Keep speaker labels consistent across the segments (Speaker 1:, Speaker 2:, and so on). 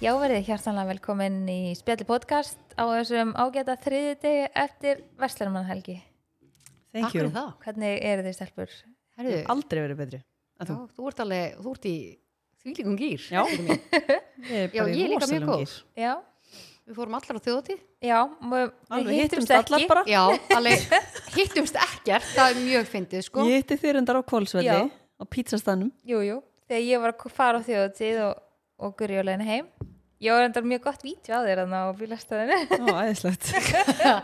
Speaker 1: Já, verið hjartanlega velkomin í spjalli podcast á þessum ágæta þriði degi eftir Vestlumannhelgi.
Speaker 2: Thank
Speaker 3: Takk
Speaker 2: you.
Speaker 3: fyrir það.
Speaker 1: Hvernig eru þið stelpur?
Speaker 3: Herðu,
Speaker 2: Ég hef Aldrei verið betri. En
Speaker 3: já,
Speaker 2: þú?
Speaker 3: þú ert alveg, þú ert í þvílíkum gýr.
Speaker 2: Já.
Speaker 3: stelpan mín.
Speaker 2: Ég er
Speaker 3: Já,
Speaker 2: bara
Speaker 3: ég
Speaker 2: í
Speaker 3: er líka mjög
Speaker 2: rosalum
Speaker 3: góð.
Speaker 2: gír.
Speaker 1: Já,
Speaker 3: Við fórum allar á þjóðatíð.
Speaker 1: já, og við
Speaker 2: Alveg hittumst allar bara.
Speaker 3: Já, alveg hittumst ekkert, það er mjög fyndið sko.
Speaker 2: Ég hitti þér endar á
Speaker 1: Já.
Speaker 2: kólsvelli á pítsastanum.
Speaker 1: Jú, jú, þegar ég var að fara á þjóðutíð og, og gurri á leiðinu heim. Ég var endar mjög gott víti á þér þannig á bílastöðinu.
Speaker 2: Ó, æðislegt.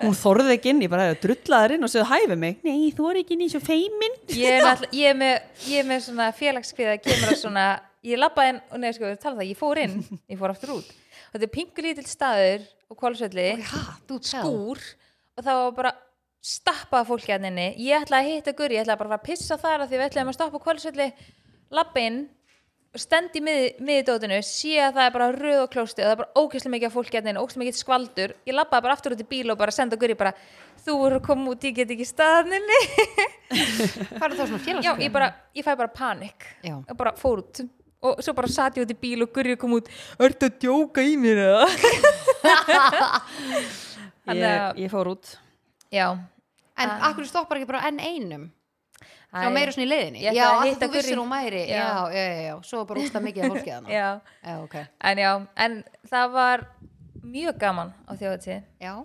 Speaker 2: Hún þorði ekki inn, ég bara hefði drullaður inn og segði hæfi mig. Nei, þú er ekki inn í svo feimin.
Speaker 1: Ég er, all, ég er, með, ég er með svona félagskviða kemur að svona, ég labba inn og neður sko, við tala það, ég fór inn, ég fór aftur út. Og þetta er pingulítill staður og kólusvelli.
Speaker 3: Ha, þú ert skúr.
Speaker 1: skúr og það var bara stappaða fólki hann inni ég ætlaði að hitta Guri, ég ætlaði bara að fara að pissa þar af því við ætlaðum að stoppa kvölsvelli lappin, stend í mið- miðdótinu, sé að það er bara röð og klósti og það er bara ógeðslega mikið af fólki hann inni ógeðslega mikið skvaldur, ég lappaði bara aftur út í bíl og bara senda Guri bara, þú voru að koma út ég get ekki staðninni
Speaker 3: Hvað er það svona
Speaker 1: já,
Speaker 3: félagslega?
Speaker 1: ég bara, ég fæ bara panik
Speaker 3: Já.
Speaker 1: og bara fór út og svo bara sat ég út í bíl og Guri kom út ertu að djóka í mér eða? Þannig að-
Speaker 2: Ég, ég fór út.
Speaker 1: já,
Speaker 3: En akkur stoppar ekki bara enn einum? Það
Speaker 1: Æ.
Speaker 3: meira svona í leiðinni?
Speaker 1: Ég ætlaði
Speaker 3: já,
Speaker 1: að
Speaker 3: að
Speaker 1: hitta
Speaker 3: þú vissir
Speaker 1: Gurrí.
Speaker 3: hún
Speaker 1: Já.
Speaker 3: mæri. Já, já, já, já. Svo var bara úrsta mikið af fólkið hana.
Speaker 1: já
Speaker 3: Já, ok.
Speaker 1: En já, en það var mjög gaman á þjóðatíð.
Speaker 3: Já,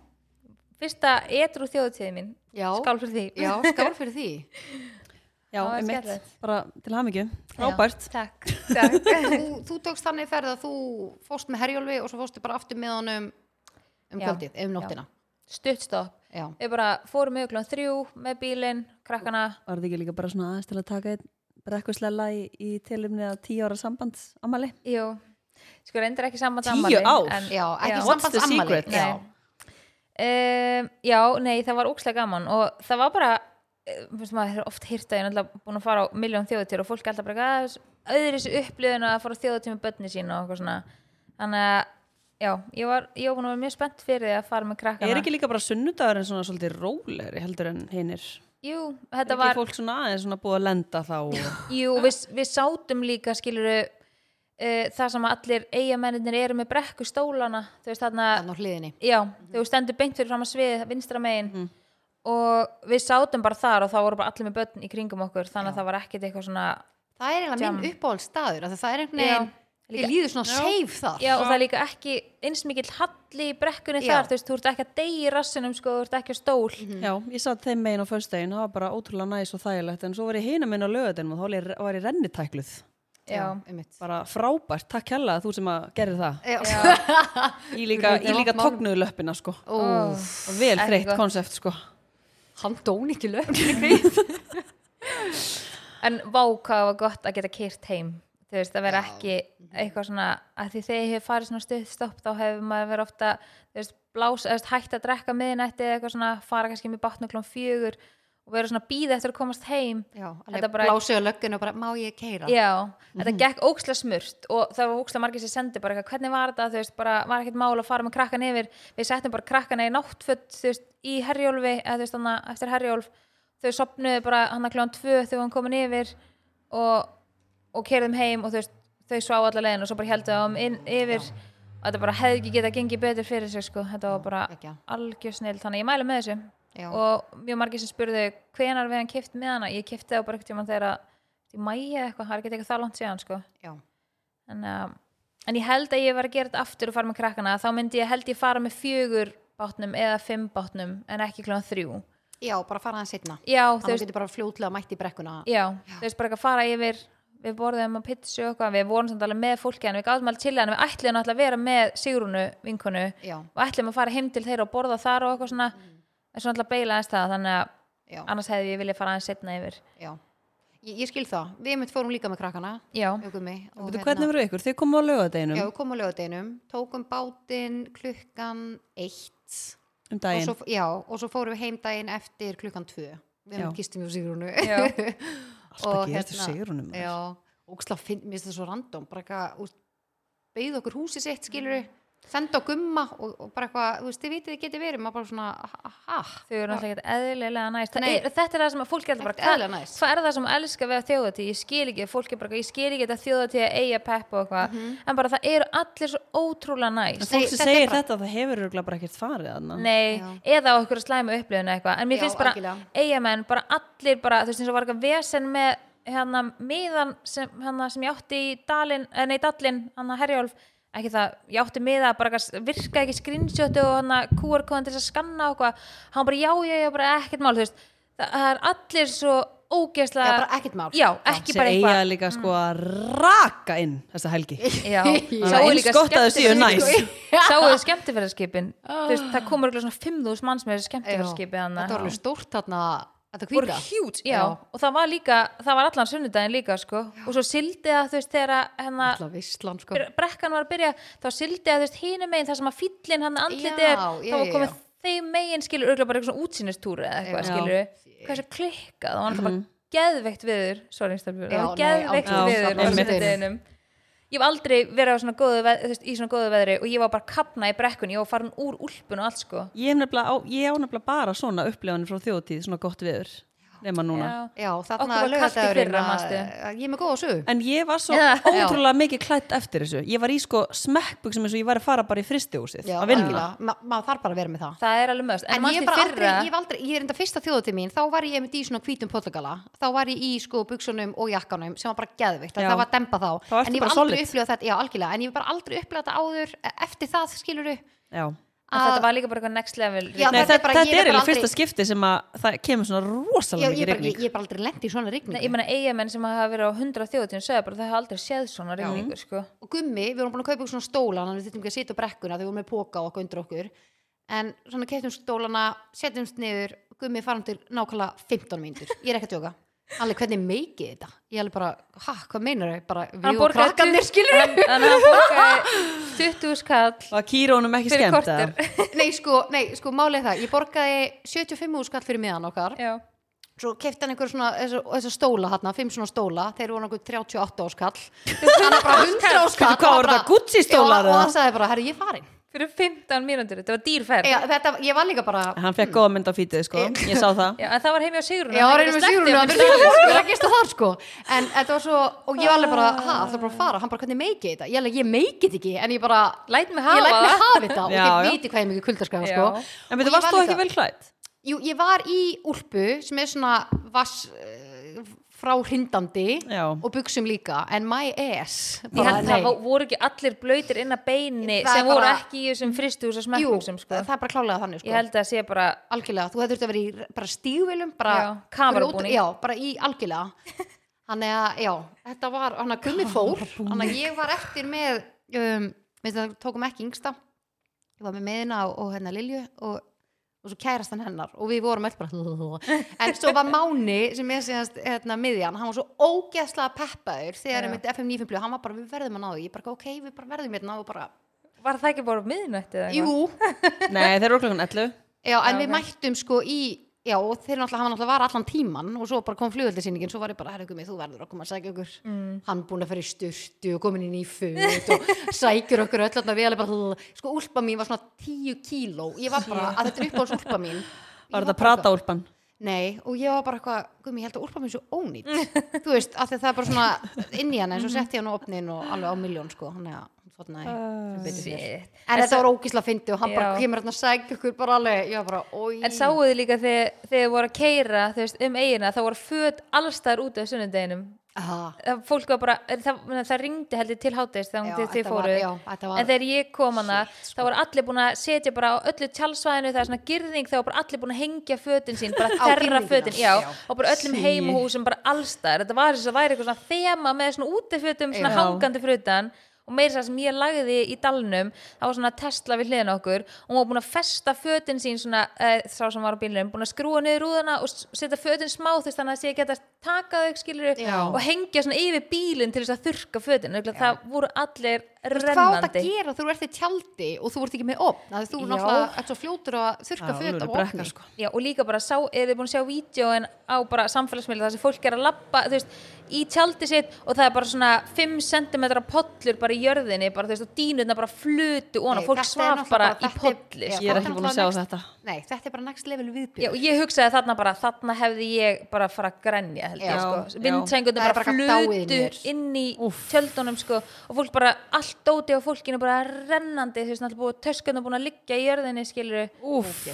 Speaker 1: Fyrsta etru þjóðatíði mín,
Speaker 3: já.
Speaker 1: skál fyrir því.
Speaker 3: Já, skál fyrir því.
Speaker 2: Já,
Speaker 1: Það var
Speaker 2: einmitt.
Speaker 1: skemmtilegt.
Speaker 2: Bara til hamingju. Rábært.
Speaker 1: Takk, takk.
Speaker 3: þú, þú tókst þannig ferð að þú fóst með Herjólfi og svo fóstu bara aftur með honum um
Speaker 1: Já.
Speaker 3: kvöldið, um nóttina
Speaker 1: Stutt stopp.
Speaker 3: já.
Speaker 1: Við bara fórum auðvitað þrjú með bílinn, krakkana.
Speaker 2: Var þetta ekki líka bara svona aðeins til að taka einn brekkuslella í, í tilumni að tíu ára sambands ammali?
Speaker 1: Jú, sko reyndir ekki saman
Speaker 2: Tíu
Speaker 1: sammali.
Speaker 2: ár?
Speaker 1: en-
Speaker 3: já, ekki
Speaker 1: Já.
Speaker 2: What's the
Speaker 3: sambandsammali
Speaker 2: secret?
Speaker 3: já.
Speaker 1: Nei. Um, já, nei, það var ókslega gaman og það var bara, eh, finnst maður oft hýrt að ég er náttúrulega búin að fara á miljón þjóðatíð og fólk er alltaf bara að öðru þessu upplifun að fara á þjóðatíð með börni sín og eitthvað svona. Þannig að, já, ég var, ég var búin að vera mjög spennt fyrir því að fara með krakkana.
Speaker 2: Er ekki líka bara sunnudagurinn svona svolítið rólegri heldur en hinnir?
Speaker 1: Jú,
Speaker 2: Er
Speaker 1: þetta
Speaker 2: ekki
Speaker 1: var,
Speaker 2: fólk svona aðeins svona búið að lenda þá? og-
Speaker 1: jú, við, við sátum líka, skiluru, uh, það sem að allir eigamennir eru með brekku stólana, þú veist þarna,
Speaker 3: þannig á hliðinni
Speaker 1: Já, þau stendur beint fyrir fram að svið vinstra megin og við sátum bara þar og þá voru bara allir með börn í kringum okkur þannig að það var ekkit eitthvað svona
Speaker 3: það er eiginlega
Speaker 1: Jam.
Speaker 3: minn uppáhaldstaður af því það er einhvern
Speaker 1: Já.
Speaker 3: veginn, ég líður svona safe þar
Speaker 1: Já, og það er líka ekki eins mikill halli í brekkunni
Speaker 3: Já.
Speaker 1: þar, þú veist, þú ert ekki að deyja í rassinum sko, þú ert ekki á stól
Speaker 2: Já, ég satt þeim megin á föstudaginn, það var bara ótrúlega næs og þægilegt, en svo var ég hina minn á lögadinn og þá var ég- var ég rennitækluð.
Speaker 1: Já,
Speaker 3: einmitt.
Speaker 2: Bara frábært, takk hella þú sem að gerði það.
Speaker 3: já.
Speaker 2: Ég líka, ég líka tóknuði löppina, sko.
Speaker 3: Ó,
Speaker 2: Og vel
Speaker 1: Ekki
Speaker 2: þreytt
Speaker 1: gott.
Speaker 2: konsept, sko.
Speaker 3: hann dóni ekki lög
Speaker 1: en váka var gott að geta kyrt heim þú veist, að vera ekki eitthvað svona að því þegar ég hef farið svona stuð stopp þá hefur maður verið ofta þú veist, blás, eða þú veist, hægt að drekka miðinætti eða eitthvað svona, fara kannski með batna klón fjögur og vera svona býð eftir að komast heim Þetta bara-
Speaker 3: blásuðu lögginu og bara má ég keira
Speaker 1: Já, þetta gekk óksla smurt og það var óksla margir sem sendi bara eitthvað, hvernig var þetta, þú veist, bara var ekkert mál að fara með krakkan yfir, við settum bara krakkana í náttföt, þú veist, í herjólfi eða þú veist, hana, eftir herjólf þau sopnuðu bara hann að kljóðan tvö þegar hann komin yfir og, og kerðum heim og þú veist, þau svá allar leiðin og svo bara heldur það inn yfir og þetta bara hefði ekki getað gengið betur fyrir sig sko, þetta var bara
Speaker 3: geggjað.
Speaker 1: algjör snill, þannig að ég mælu með þessu
Speaker 3: Já.
Speaker 1: og mjög margir sem spurðu hvenar við hann kipt með hana, ég kipti það bara eitthvað tíma þegar að í mæja eða eitthvað, það er ekki eitthvað það langt síðan sko.
Speaker 3: Já.
Speaker 1: en, uh, en ég held að ég var að gera þetta aftur og fara með krakkana þá myndi ég held ég fara með fjögur bátnum eða fimm bátnum en ekki kljóðan þrjú
Speaker 3: já, bara fara hann setna
Speaker 1: já, þú
Speaker 3: hann
Speaker 1: veist,
Speaker 3: getur bara fljótlega mætt í brekkuna
Speaker 1: já, þú veist bara ekki að fara yfir við borðum að pizza og eitthvað við vorum samt alveg með fólki en við gáðum alveg til en við ætlum náttúrulega að vera með Sigrúnu vinkonu
Speaker 3: já,
Speaker 1: og ætlum að fara heim til þeirra og borða þar og eitthvað svona en svo náttúrulega beila aðeins það þannig að
Speaker 3: já,
Speaker 1: annars hefði ég viljað fara aðeins setna yfir
Speaker 3: já ég, ég skil það, við mitt fórum líka með krakkana
Speaker 1: já,
Speaker 3: ögummi og
Speaker 2: Veitu,
Speaker 3: hérna-
Speaker 2: hvernig voru ykkur? Þið komum á
Speaker 3: Já,
Speaker 2: lögadeginum
Speaker 3: við komum á lögadeginum, tókum bátinn klukkan eitt
Speaker 2: um
Speaker 3: og
Speaker 2: daginn.
Speaker 3: svo, já, og svo fórum við heim daginn eftir klukkan tvö við
Speaker 2: Já.
Speaker 3: hefum gistum hjá Sigrúnu hérna-
Speaker 1: Já.
Speaker 2: Alltaf gerist þér sigrunum.
Speaker 3: já,
Speaker 1: Mm.
Speaker 3: og óksla finn, mér finnst það svo random bara eitthvað, beigð okkur húsi sitt skilur senda á gumma og, og bara eitthvað, þú veist, þið vitið þið getið verið maður bara svona, ha,
Speaker 1: þau eru náttúrulega ekkert eðlilega næst Það
Speaker 3: Nei.
Speaker 1: er, þetta er það sem að fólk er bara
Speaker 3: Ekkert
Speaker 1: hvað,
Speaker 3: eðlilega næs."
Speaker 1: hvað er það sem elskar við að þjóðatíð ég skil ekki, fólk er bara, ég skil ekki þetta þjóðatíð að eiga pepp og eitthvað
Speaker 3: Mhm.
Speaker 1: en bara það eru allir svo ótrúlega næst
Speaker 3: Nei,
Speaker 2: fólk sem
Speaker 3: þetta er
Speaker 2: segir
Speaker 3: bara-
Speaker 2: þetta, það hefur örugglega bara ekkert farið þarna.
Speaker 1: Nei, eða á einhverju slæmu upplifun eða eitthvað en mér
Speaker 3: Já,
Speaker 1: finnst bara,
Speaker 3: algjörlega.
Speaker 1: eigamenn, bara allir bara, þú veist eins og var eitthvað vesen með hérna miðan sem, hérna, sem ég átti í Dalin, eh, nei Dallin hann að Herjólf, ekki það, ég átti miða bara eitthvað, virkaði ekki screenshotu og hérna, hann að QR-kóðan til þess að skanna og eitthvað hann bara já, já, já, bara ekkert mál, þú veist það er allir svo ógeðslega
Speaker 3: Já, bara ekkert mál.
Speaker 1: Já, ekki
Speaker 2: sem
Speaker 1: bara
Speaker 2: eiga
Speaker 1: eitthvað
Speaker 2: líka sko að raka inn þessa helgi
Speaker 1: Já,
Speaker 2: Þannig
Speaker 1: sáu
Speaker 2: að
Speaker 1: líka
Speaker 2: eins gott að þau séu
Speaker 1: skemmtiferðaskip-
Speaker 2: næs.
Speaker 1: sáu þau skemmtifæðarskipin það komur svona 5.000 manns með þessu skemmtifæðarskipi
Speaker 3: Ah. þetta var alveg stórt þarna, þetta
Speaker 1: voru
Speaker 3: hvíta
Speaker 1: hjút, já. og það var líka, það var allan sunnudaginn líka sko, og svo sildi það þú veist þegar að hérna
Speaker 3: Alla Ísland, sko.
Speaker 1: byr- brekkan var að byrja, þá sildi það þú veist hinum megin þar sem að fyllin hann andlit
Speaker 3: Já,
Speaker 1: er
Speaker 3: já,
Speaker 1: þá var
Speaker 3: já,
Speaker 1: komið
Speaker 3: já.
Speaker 1: þeim megin skilur örgulega bara eitthvað svona útsýnistúr eða
Speaker 3: Já. Mhm.
Speaker 1: eitthvað skilur hvað er svo klikkað, það var alltaf bara geðveikt viður, sorry, Stelbjörn,
Speaker 3: Já,
Speaker 1: það var
Speaker 3: nei,
Speaker 1: geðveikt
Speaker 2: ágætlega. Já,
Speaker 1: viður á
Speaker 2: einmitt.
Speaker 1: sunnudeginum Ég hef aldrei verið á svona góðu veð, þú veist, í svona góðu veðri og ég var bara að kapna í brekkun, ég var farin úr úlpun og allt sko.
Speaker 2: ég, er nefnilega á- ég á nefnilega bara svona upplifanir frá þjóðtíð, svona gott viður nema núna
Speaker 1: Já.
Speaker 3: Já,
Speaker 1: Okkur
Speaker 3: þarna
Speaker 1: var kalt í
Speaker 3: laugardagurinn
Speaker 1: fyrra,
Speaker 3: að-
Speaker 1: manstu?
Speaker 3: að- Ég er með góða sögu.
Speaker 2: en ég var svo
Speaker 1: Já.
Speaker 2: ótrúlega mikið klætt eftir þessu ég var í sko smekkbuksum eins og ég var að fara bara í fristihúsið
Speaker 3: Já,
Speaker 2: að vinna
Speaker 3: algjörlega. Ma- Maður þarf bara að vera með það.
Speaker 1: Það er alveg mögst.
Speaker 3: En, ég,
Speaker 1: manstu
Speaker 3: er bara
Speaker 1: fyrra-
Speaker 3: aldrei, ég, hef aldrei, ég er enda fyrsta þjóðatíð mín, þá var ég einmitt í svona hvítum pottagala, þá var ég í sko buksunum og jakkanum sem var bara geðvikt,
Speaker 2: Já.
Speaker 3: það var dempa þá.
Speaker 2: Þá ertu
Speaker 3: en ég
Speaker 2: bara
Speaker 3: hef aldrei
Speaker 2: solid.
Speaker 3: upplifað þetta, já algjörlega, en ég hef bara aldrei upplifað þetta áður, e- eftir það skilur du.
Speaker 2: Já.
Speaker 1: En Þetta var líka bara eitthvað next level.
Speaker 3: Já,
Speaker 2: Nei,
Speaker 3: þetta er
Speaker 2: þetta,
Speaker 3: bara-
Speaker 2: þetta
Speaker 3: ég er
Speaker 2: er
Speaker 3: bara
Speaker 2: eiginlega fyrsta
Speaker 3: aldrei-
Speaker 2: skipti sem að það kemur svona
Speaker 3: Já,
Speaker 2: rosalega
Speaker 3: ég,
Speaker 2: mikið
Speaker 3: er bara, ég,
Speaker 2: regning
Speaker 3: ég er bara aldrei lent í svona rigningu.
Speaker 1: Nei, ég meina eigamenn sem hafa verið á 100 þjóðtíðin sögðu bara það hafa aldrei séð svona regningu sko.
Speaker 3: og gummi, við vorum búin að kaupa svona stóla þannig að við þurfum ekki að sitja á brekkuna þegar við vorum með póka og okkur undir okkur en svona keftum stólana, setjumst niður gummi farum til nákvæmlega 15 mínútur ég er ekki að tjóka alveg hvernig meikið þetta? Ég alveg bara, ha, hvað meinar þau? Bara við og
Speaker 1: borgaði
Speaker 3: krakkarnir
Speaker 1: tut-
Speaker 3: skilur
Speaker 1: hann- hann- hann borgaði 20 skall
Speaker 2: og að kýra honum ekki
Speaker 1: fyrir
Speaker 2: skemmt
Speaker 1: korter
Speaker 2: eða?
Speaker 3: Nei, sko, nei, sko, málið er það Ég borgaði 75 úrskall fyrir miðan okkar
Speaker 1: Já.
Speaker 3: svo kefti hann einhver svona þessar þessa stóla hann, fimm svona stóla, þeir voru nokkuð 38 áskall hann er bara 100 áskall
Speaker 2: Hvað voru þetta, Gucci stólar
Speaker 3: Já, og
Speaker 2: eða?
Speaker 3: hann sagði bara, herri, ég er farin
Speaker 1: fyrir 15 mínútur, þetta var dýrferð
Speaker 3: Já, þetta, ég var líka bara
Speaker 2: hann fekk góða mynd á fítið sko, ég sá það
Speaker 1: Já, en það var heimi á Sigrun
Speaker 3: Já, reynum við Sigrún að vera sko, það gerst það þar sko En þetta var svo, og ég var alveg bara, ha, það er bara að fara Hann bara, hvernig meikið þetta? Ég alveg, ég meikið þetta ekki, en ég bara
Speaker 1: Læt mig
Speaker 3: Ég
Speaker 1: hafa
Speaker 3: læt mig
Speaker 1: það.
Speaker 3: hafa þetta og
Speaker 2: Já,
Speaker 3: þið
Speaker 2: já.
Speaker 3: viti hvað ég er mikið kuldarskafa
Speaker 1: Já.
Speaker 3: sko
Speaker 2: en
Speaker 3: Og
Speaker 2: betur,
Speaker 3: ég
Speaker 2: varst
Speaker 3: var
Speaker 2: þú
Speaker 3: líka-
Speaker 2: ekki vel klætt?
Speaker 3: Jú, ég var í úlpu sem er svona vass eh, fráhrindandi
Speaker 2: Já.
Speaker 3: og buksum líka, en my ass
Speaker 1: Ég
Speaker 3: bara,
Speaker 1: held
Speaker 3: nei.
Speaker 1: það vo- voru ekki allir blöytir inn að beini
Speaker 3: Það er
Speaker 1: sem voru
Speaker 3: bara-
Speaker 1: ekki í þessum fristús og
Speaker 3: Jú,
Speaker 1: smekkbuxum sko.
Speaker 3: það er bara klálega þannig sko
Speaker 1: Ég held að sé bara
Speaker 3: algjörlega, þú hefði þurft að vera í bara stígvilum, bara
Speaker 1: Já, kamerabúning.
Speaker 3: grjót- já, bara í algjörlega þannig að, já, þetta var hann að gummi fór, hann að ég var eftir með um, við það tókum ekki yngsta ég var með meðina og, og hennar Lilju og, og svo kærastan hennar og við vorum öll bara en svo var Máni sem ég séðast hérna, miðjan, hann var svo ógeðslega peppaður
Speaker 1: Já.
Speaker 3: þegar mitt FM 95 hann var bara, við verðum að ná því, ég bara, ok, við bara verðum hérna og bara,
Speaker 1: var það ekki bara miðnætti eða eitthvað?
Speaker 3: jú,
Speaker 2: nei, þeir eru klukkan 11
Speaker 3: Já, en
Speaker 1: Já,
Speaker 3: við
Speaker 1: ok.
Speaker 3: mættum sko í Já, og þeir náttúrulega, hann náttúrulega var allan tíman og svo bara kom flugöldisýningin, svo var ég bara, herra gummi, þú verður okkur, maður sækja okkur mm. hann búin að fara í sturtu og komin inn í föt og sækjur okkur öll þarna, við alveg bara, sko, úlpa mín var svona tíu kíló, ég var bara, að þetta er upp á úlpa mín Ég
Speaker 2: var þetta
Speaker 3: bara eitthvað-
Speaker 2: prata úlpan
Speaker 3: Nei, og ég var bara eitthvað, gummi, ég held að úlpa mín sé ónýtt þú veist, af því að það er bara svona inn í hann,
Speaker 1: Mhm.
Speaker 3: en svo setti ég hann á opnin og alveg á miljón, sko, hann er að
Speaker 1: Ah, Shit.
Speaker 3: En þetta var ógísla fyndi og hann bara
Speaker 1: Já.
Speaker 3: kemur hérna að segja ykkur bara alveg, ég var bara, oi.
Speaker 1: En sáu þið líka þegar, þegar þið voru að keira veist, um eigina, þá voru föt allstaðar út af sunnudeginum
Speaker 3: Aha.
Speaker 1: það, fólk var bara, er það, það, það ringdi heldur til hátæðist
Speaker 3: Já,
Speaker 1: þegar þið
Speaker 3: þetta var-
Speaker 1: fóru
Speaker 3: já, þetta var- sko.
Speaker 1: en þegar ég kom hana þá voru allir búin að setja bara á öllu tjálsvæðinu það er svona girðing, þá voru allir búin að hengja fötin sín, bara
Speaker 3: Á
Speaker 1: þerra
Speaker 3: girðinguna,
Speaker 1: fötin já,
Speaker 3: já.
Speaker 1: og bara öllum
Speaker 2: Sí.
Speaker 1: heimhúsum bara allstaðar, þetta var þess að væri eitthvað svona þema með svona útifötum, svona
Speaker 2: Já.
Speaker 1: hangandi frutan og meira það sem ég lagði í dalnum það var svona Tesla við hliðin á okkur og hún var búin að festa fötin sín svona eh, sá sem var á bílunum, búin að skrúa niður rúðana og s- setja fötin smá þess þannig að sé að geta taka þau skilur
Speaker 3: Já.
Speaker 1: og hengja svona yfir bílinn til þess að þurka fötin Örugglega það voru allir
Speaker 3: Þú veist, hvað átt að
Speaker 1: rennandi
Speaker 3: gera þú ert í tjaldi og þú ert ekki með opn að þú
Speaker 1: Já.
Speaker 3: náttúrulega ert svo fljótur að þurka föt á
Speaker 2: alveg
Speaker 3: opni
Speaker 2: sko.
Speaker 1: Já, og líka bara sá, eða þið búin að sjá vídjóin á bara samfélagsmiðla þar sem fólk er að labba, þú veist, í tjaldi sitt og það er bara svona 5 cm pollur bara í jörðinni, bara þú veist, og dýnurna bara flutu og
Speaker 3: Nei,
Speaker 1: hana, fólk
Speaker 3: þetta er
Speaker 1: svaf bara
Speaker 3: náttúrulega bara-
Speaker 1: í
Speaker 3: þetta er-
Speaker 1: polli,
Speaker 3: já.
Speaker 1: sko.
Speaker 2: Ég er ekki búin að sjá þetta.
Speaker 3: nei, þetta er bara next level viðbjörn
Speaker 1: Já, og ég hugsaði þarna bara, þarna hefði ég bara fara að grenja, held
Speaker 3: Já,
Speaker 1: ég,
Speaker 2: já.
Speaker 1: sko. Vindsængunni
Speaker 3: Það er
Speaker 1: bara
Speaker 3: bara dáið í
Speaker 1: flutu
Speaker 3: mér.
Speaker 1: inn í
Speaker 2: Úff.
Speaker 1: tjöldunum, sko, og fólk bara, allt dóti á fólkinu bara rennandi, þú veist, náttúrulega búið töskunum búin að liggja í jörðinni, skilur
Speaker 2: Úf,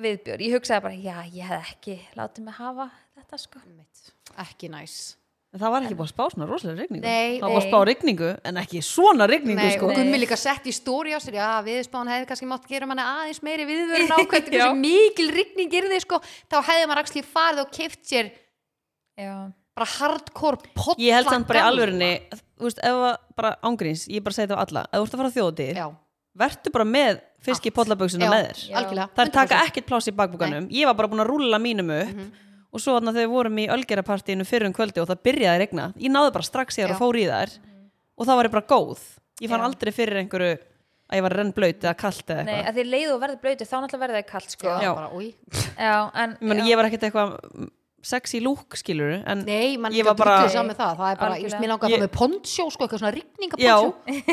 Speaker 1: viðbjör. Ég hugsaði bara, já, ég hefði ekki látið mig hafa þetta, sko.
Speaker 3: Einmitt. ekki næs
Speaker 2: það var ekki búin að spá svona rosalega rigningu.
Speaker 3: Nei,
Speaker 2: það var
Speaker 1: nei.
Speaker 2: spá rigningu, en ekki svona rigningu
Speaker 3: Nei,
Speaker 2: sko.
Speaker 3: og Gummi líka sett í stóri á sér já, viðspán hefði kannski mátt gera manna aðeins meiri viðvörun á hvernig
Speaker 1: Já.
Speaker 3: hversu mikil rigning gerði sko, þá hefði maður axli farið og keift sér
Speaker 1: Já,
Speaker 3: bara hardcore potla
Speaker 2: Ég held samt bara í
Speaker 3: gamla.
Speaker 2: alvörinni, þú veist, ef að bara ángríns, ég bara segi það á alla, ef þú ert að fara á þjóðatíð,
Speaker 3: já,
Speaker 2: vertu bara með fisk í
Speaker 3: já,
Speaker 2: pollaböksuna með þér.
Speaker 1: Já.
Speaker 3: algjörlega
Speaker 2: Það er taka
Speaker 3: 100%.
Speaker 2: ekkert pláss í bakbúkanum, ég var bara búin að rúlla mínum upp og svo þannig að þau vorum í ölgerapartíinu fyrir um kvöldi og það byrjaði að regna. Ég náði bara strax ég
Speaker 3: Já.
Speaker 2: að fór í þær og það var ég bara góð. Ég fann
Speaker 1: Já.
Speaker 2: aldrei fyrir einhverju að ég var rennblöyt eða kalt eða
Speaker 1: Nei,
Speaker 2: eitthvað.
Speaker 1: að því leið og verði blöytu þá náttúrulega verði það kalt sko.
Speaker 3: já,
Speaker 2: Já.
Speaker 3: bara, új
Speaker 1: Já, en
Speaker 2: Ég meina,
Speaker 1: já,
Speaker 2: ég var ekkert eitthvað mm, sexy lúk skilur en
Speaker 3: Nei, mann
Speaker 2: Ég
Speaker 3: getur
Speaker 2: var bara-
Speaker 3: bara saman með það Það er bara, ég veist,
Speaker 1: Algjörlega.
Speaker 3: mér langar að
Speaker 2: Ég-
Speaker 3: fá með pontsjó sko, eitthvað svona rigningapontsjó
Speaker 2: já,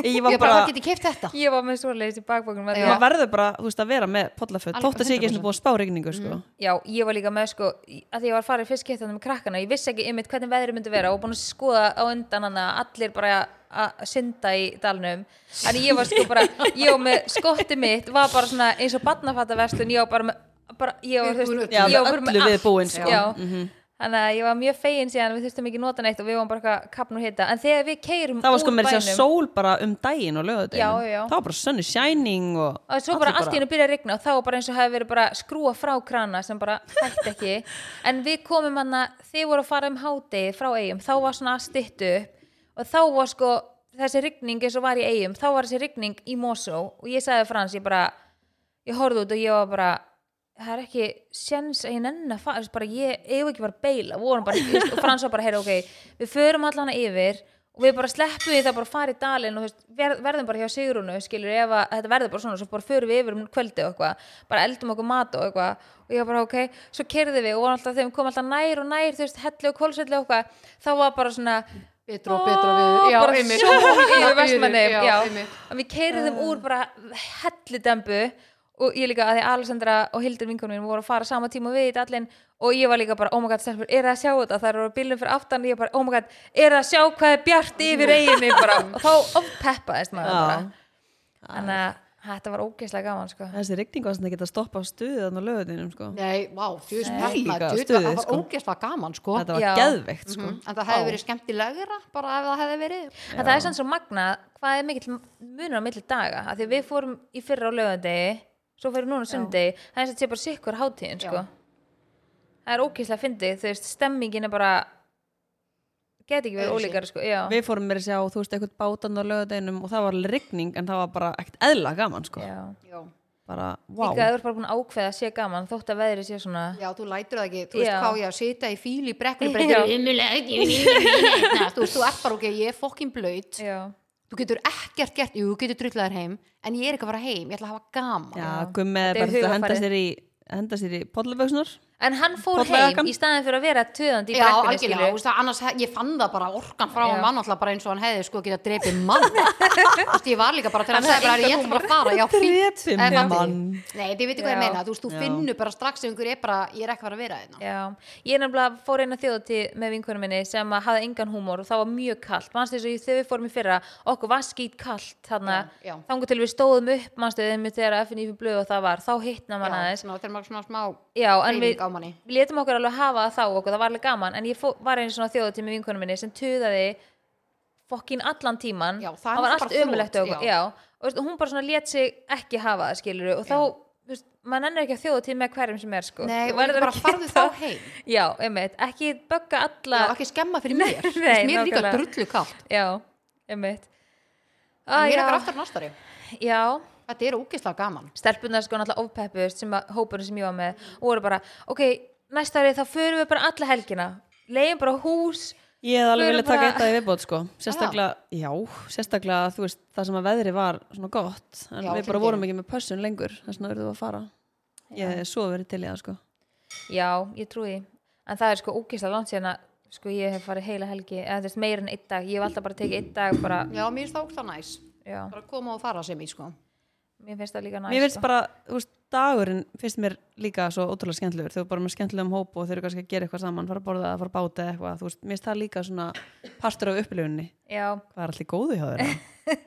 Speaker 2: ég var
Speaker 3: Ég bara, það
Speaker 2: bara
Speaker 3: geti keift þetta
Speaker 1: ég var með svoleiðis í bakbókunum að því
Speaker 2: maður
Speaker 1: að-
Speaker 2: verður bara, þú veist, að vera með pollaföt
Speaker 3: Alveg,
Speaker 2: þótt að sé ekki eins
Speaker 3: 100%.
Speaker 2: og búið að spá regningu sko.
Speaker 1: Já, ég var líka með sko að því ég var farið fyrst kiptandi með krakkana ég vissi ekki ymmit hvernig veðrið myndi vera og búin að skoða á undan hann að allir bara að synda í dalnum en ég var sko bara, ég var með skotti mitt var bara svona eins og barnafattaverslun ég var bara með, bara, ég var, þú veist,
Speaker 3: Já,
Speaker 1: ég var
Speaker 2: með
Speaker 1: bara með
Speaker 2: öllu
Speaker 1: allt,
Speaker 2: viðbúin, sko.
Speaker 1: Já, þannig að ég var mjög fegin síðan við þurftum ekki nota neitt og við varum bara eitthvað kapn og hita en þegar við keirum
Speaker 2: það var sko
Speaker 1: úr
Speaker 2: með þess að
Speaker 1: bænum-
Speaker 2: sól bara um daginn og
Speaker 1: Já, já, já.
Speaker 2: lögadeginn, það var bara sunny shining og
Speaker 1: og svo
Speaker 2: allir
Speaker 1: bara allt í hennu byrja að rigna og þá var bara eins og hefði verið bara skrúa frá krana sem bara hætti ekki en við komum hann að þið voru að fara um hádegi frá eigum, þá var svona stittu upp og þá var sko þessi rigning eins og var í eigum, þá var þessi rigning í Mosó og ég sagði frans, ég bara ég horfði út og ég var bara það er ekki sjens að ég nenni að fara þú veist, bara ég eigum ekki bara að beila vorum bara, þú veist, og Frans var bara, heyra, ok við förum allan yfir og við bara sleppum því það bara fara í dalinn og þú veist, ver, verðum bara hjá Sigrunu skilur ef að þetta verður bara svona svo bara förum við yfir um kvöldi og eitthvað bara eldum okkur mat og eitthvað og ég var bara ok, svo kerði við og vorum alltaf þegar við komum alltaf nær og nær þú veist, hellu og kólsellu og eitthvað þá var bara svona
Speaker 3: Betra og betra
Speaker 2: Ah,
Speaker 3: við
Speaker 1: Já, bara
Speaker 3: einmitt.
Speaker 1: sjól í
Speaker 3: Þarna
Speaker 1: Vestmannaeyjum,
Speaker 3: fyrir,
Speaker 1: já. Ah.
Speaker 3: einmitt.
Speaker 1: og við keiriðum úr bara hellidembu og ég líka að því Alessandra og Hildur vinkunum mín voru að fara sama tíma og við í dallin og ég var líka bara, oh my god, stelpur, er það að sjá þetta það eru bílum fyrir aftan, ég bara, oh my god er það að sjá hvað er bjart yfir eiginni bara, og þá ofpeppaðist maður bara
Speaker 2: Já.
Speaker 1: þannig að þetta var ógeðslega gaman sko.
Speaker 2: þessi regning var svona ekki að stoppa á stuðið þarna á lögadeinum sko.
Speaker 3: Nei, vá, þú veist,
Speaker 2: Þvílíka
Speaker 3: hérna, djöfull,
Speaker 2: stuðið,
Speaker 3: það var
Speaker 2: sko.
Speaker 3: ógeðslega gaman, sko
Speaker 2: þetta var
Speaker 1: Já.
Speaker 2: geðveikt sko.
Speaker 3: Mhm, En það hefði verið skemmtilegra, bara ef það hefði verið
Speaker 1: en það er sann svo magna hvað er mikill munur á milli daga af því að við fórum í fyrra á lögandegi svo fyrir núna sundi það er sem sé bara sikkur hátíðin sko.
Speaker 3: Já.
Speaker 1: það er ókýrslega fyndið þú veist, stemmingin er bara geti ekki verið
Speaker 3: Öðruvísi.
Speaker 1: ólíkar sko. já.
Speaker 2: við fórum með að sjá, þú veist, eitthvað bátan á lögadeinum og það var regning en það var bara ekkert eðla gaman sko.
Speaker 1: Já.
Speaker 3: Já,
Speaker 2: bara, wow
Speaker 1: líka að þú ert bara búin að ákveða að sé gaman þótt að veðrið sé svona
Speaker 3: já þú lætur það ekki, þú veist
Speaker 1: Já.
Speaker 3: hvað á ég að sita í fíl í brekkur
Speaker 1: Já.
Speaker 3: hérna. Þú veist, þú ert bara, ok, ég er fokkin blöyt
Speaker 1: já,
Speaker 3: Þú getur ekkert gert, jú, þú getur drullaður heim En ég er ekki að fara heim, ég ætla að hafa gaman
Speaker 2: já, gummið
Speaker 1: Þetta er
Speaker 2: bara þetta henda
Speaker 1: hugarfarið.
Speaker 2: sér í henda sér í pollaböksnar
Speaker 1: en hann fór
Speaker 2: Pollagakan?
Speaker 1: heim í staðin fyrir að vera töðandi í
Speaker 3: Já,
Speaker 1: brekkunni,
Speaker 3: algjörlega,
Speaker 1: skilurðu.
Speaker 3: þú veist það, annars hef- ég fann það bara orkan frá
Speaker 1: Já.
Speaker 3: hann mann alltaf bara eins og hann hefði sko getað drepið mann Þú veist, ég var líka bara þegar hann sagði bara, ég ætla bara að fara, já, fínt
Speaker 2: Drepið
Speaker 3: Eh, fattu
Speaker 2: mann.
Speaker 3: þið? Nei, þið veitir hvað
Speaker 1: Já.
Speaker 3: ég meina, þú veist, þú
Speaker 2: Já.
Speaker 3: finnur bara strax ef einhver er bara, ég er ekki að fara að vera hérna. þeirna
Speaker 1: Já, ég nefnilega fór eina þjóðatíð með vinkunum minni sem að hafði engan húmor og það var mjög kalt, manstu þess að þegar við fórum í fyrra okkur var skýt kalt þannig
Speaker 3: Já, já.
Speaker 1: að þangur til við stóðum upp manstu þegar við þegar FNF blöð og það var þá hittna mann aðeins
Speaker 3: Svona, þegar maður svona smá
Speaker 1: Já, en
Speaker 3: hreyfing
Speaker 1: við
Speaker 3: á manni.
Speaker 1: við letum okkur alveg hafa það þá okkur, það var alveg gaman en ég fó, var einu svona þjóðatíð með vinkunum minni sem tuðaði fokkin allan tíman
Speaker 3: Já, það er
Speaker 1: var
Speaker 3: bara
Speaker 1: allt ömulegt
Speaker 3: þrot,
Speaker 1: okkur,
Speaker 3: já.
Speaker 1: já og veist, hún bara svona lét sig ekki hafa það skilur og þá, þú veist, maður nennir ekki að þjóðatíð með hverjum sem er sko
Speaker 3: Nei,
Speaker 1: Þú
Speaker 3: og líka
Speaker 1: verður
Speaker 3: bara
Speaker 1: að
Speaker 3: farðu
Speaker 1: geta-
Speaker 3: þá heim.
Speaker 1: Já, einmitt, ekki bögga alla
Speaker 3: Já, ekki skemma fyrir mér, Þú veist,
Speaker 1: nei,
Speaker 3: mér er líka
Speaker 1: nákvæmlega.
Speaker 3: drullu kallt
Speaker 1: Já, einmitt
Speaker 3: En
Speaker 1: ah,
Speaker 3: mér er ekki
Speaker 1: já,
Speaker 3: aftur nástari
Speaker 1: já
Speaker 3: Þetta er ógeðslega gaman
Speaker 1: stelpunar sko náttúrulega ofpeppust sem að hópurinn sem ég var með og voru bara, ok, næsta ári þá förum við bara alla helgina leiðum bara hús
Speaker 2: Ég hef alveg
Speaker 1: Við
Speaker 2: viljað
Speaker 1: erum
Speaker 2: taka
Speaker 1: bara-
Speaker 2: eitt að í viðbót sko Sérstaklega, já, sérstaklega þú veist það sem að veðri var svona gott en við
Speaker 3: Já,
Speaker 2: bara
Speaker 3: fyndið.
Speaker 2: vorum ekki með pössun lengur þess vegna verðum við að fara Ég hef svo verið til í það sko
Speaker 1: já, ég trúi því en það er sko ógislega langt síðan að sko ég hef farið heila helgi eða þú veist meira en einn dag, ég hef alltaf bara tekið einn dag bara,
Speaker 3: Já, mér finnst það ókla næs
Speaker 1: já,
Speaker 3: bara að koma og fara sem í sko
Speaker 1: mér finnst það líka næst
Speaker 2: Mér finnst bara, þú veist, dagurinn finnst mér líka svo ótrúlega skemmtilegur þegar þú bara með skemmtilegum hóp og þeir eru kannski að gera eitthvað saman fara að borða eða fara að báta eða eitthvað þú veist, mér finnst það líka svona partur af upplifunni
Speaker 1: já,
Speaker 2: Hvað er allir góðu hjá þeirra?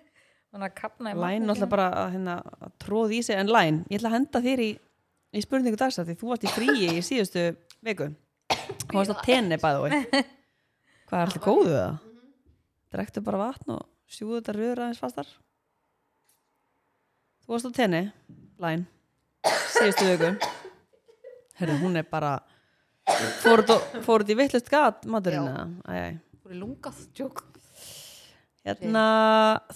Speaker 1: þannig að kapna í
Speaker 2: Læn
Speaker 1: matnum
Speaker 2: náttúrulega
Speaker 1: sínum.
Speaker 2: bara að, hérna, að tróð í sig en Læn, ég ætla að henda þér í, í spurningu dags að því þú varst í fríi í síðustu viku og varst að tenni bæðu Hvað er allir góðu það? Drektu bara vatn og sjúðu þetta röður aðeins fastar Þú varst á tenni Læn, síðustu viku Herðu, hún er bara fóruð fóruð í vittlust gat maturinn eða? Æ, æ.
Speaker 3: Þú er lungað tjók
Speaker 2: Hérna,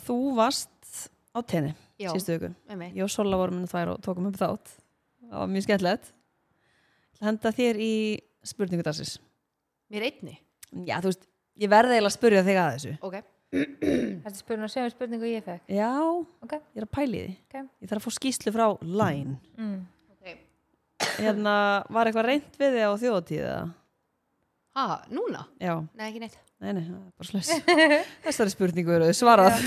Speaker 2: þú varst á tenni
Speaker 3: Já.
Speaker 2: síðustu viku
Speaker 3: Einmitt.
Speaker 2: Ég og Sola vorum inn þvær og tókum upp þátt Það var mjög skemmtilegt Það henda þér í spurningu dagsins
Speaker 3: Mér einni
Speaker 2: Já, þú veist, ég verði eiginlega að spurja þig að þessu
Speaker 3: Ok,
Speaker 1: Þetta er spurning, sömu spurningu ég fekk
Speaker 2: Já,
Speaker 1: Ok,
Speaker 2: ég er að pæli því
Speaker 1: ok
Speaker 2: Ég þarf að fá skýslu frá Line
Speaker 1: mm.
Speaker 3: okay.
Speaker 2: Hérna, var eitthvað reynd við þig á þjóðatíða?
Speaker 3: Ha, núna?
Speaker 2: Já,
Speaker 3: Nei, ekki neitt
Speaker 2: nei, nei, það er bara slöss Þessari spurningu eru svarað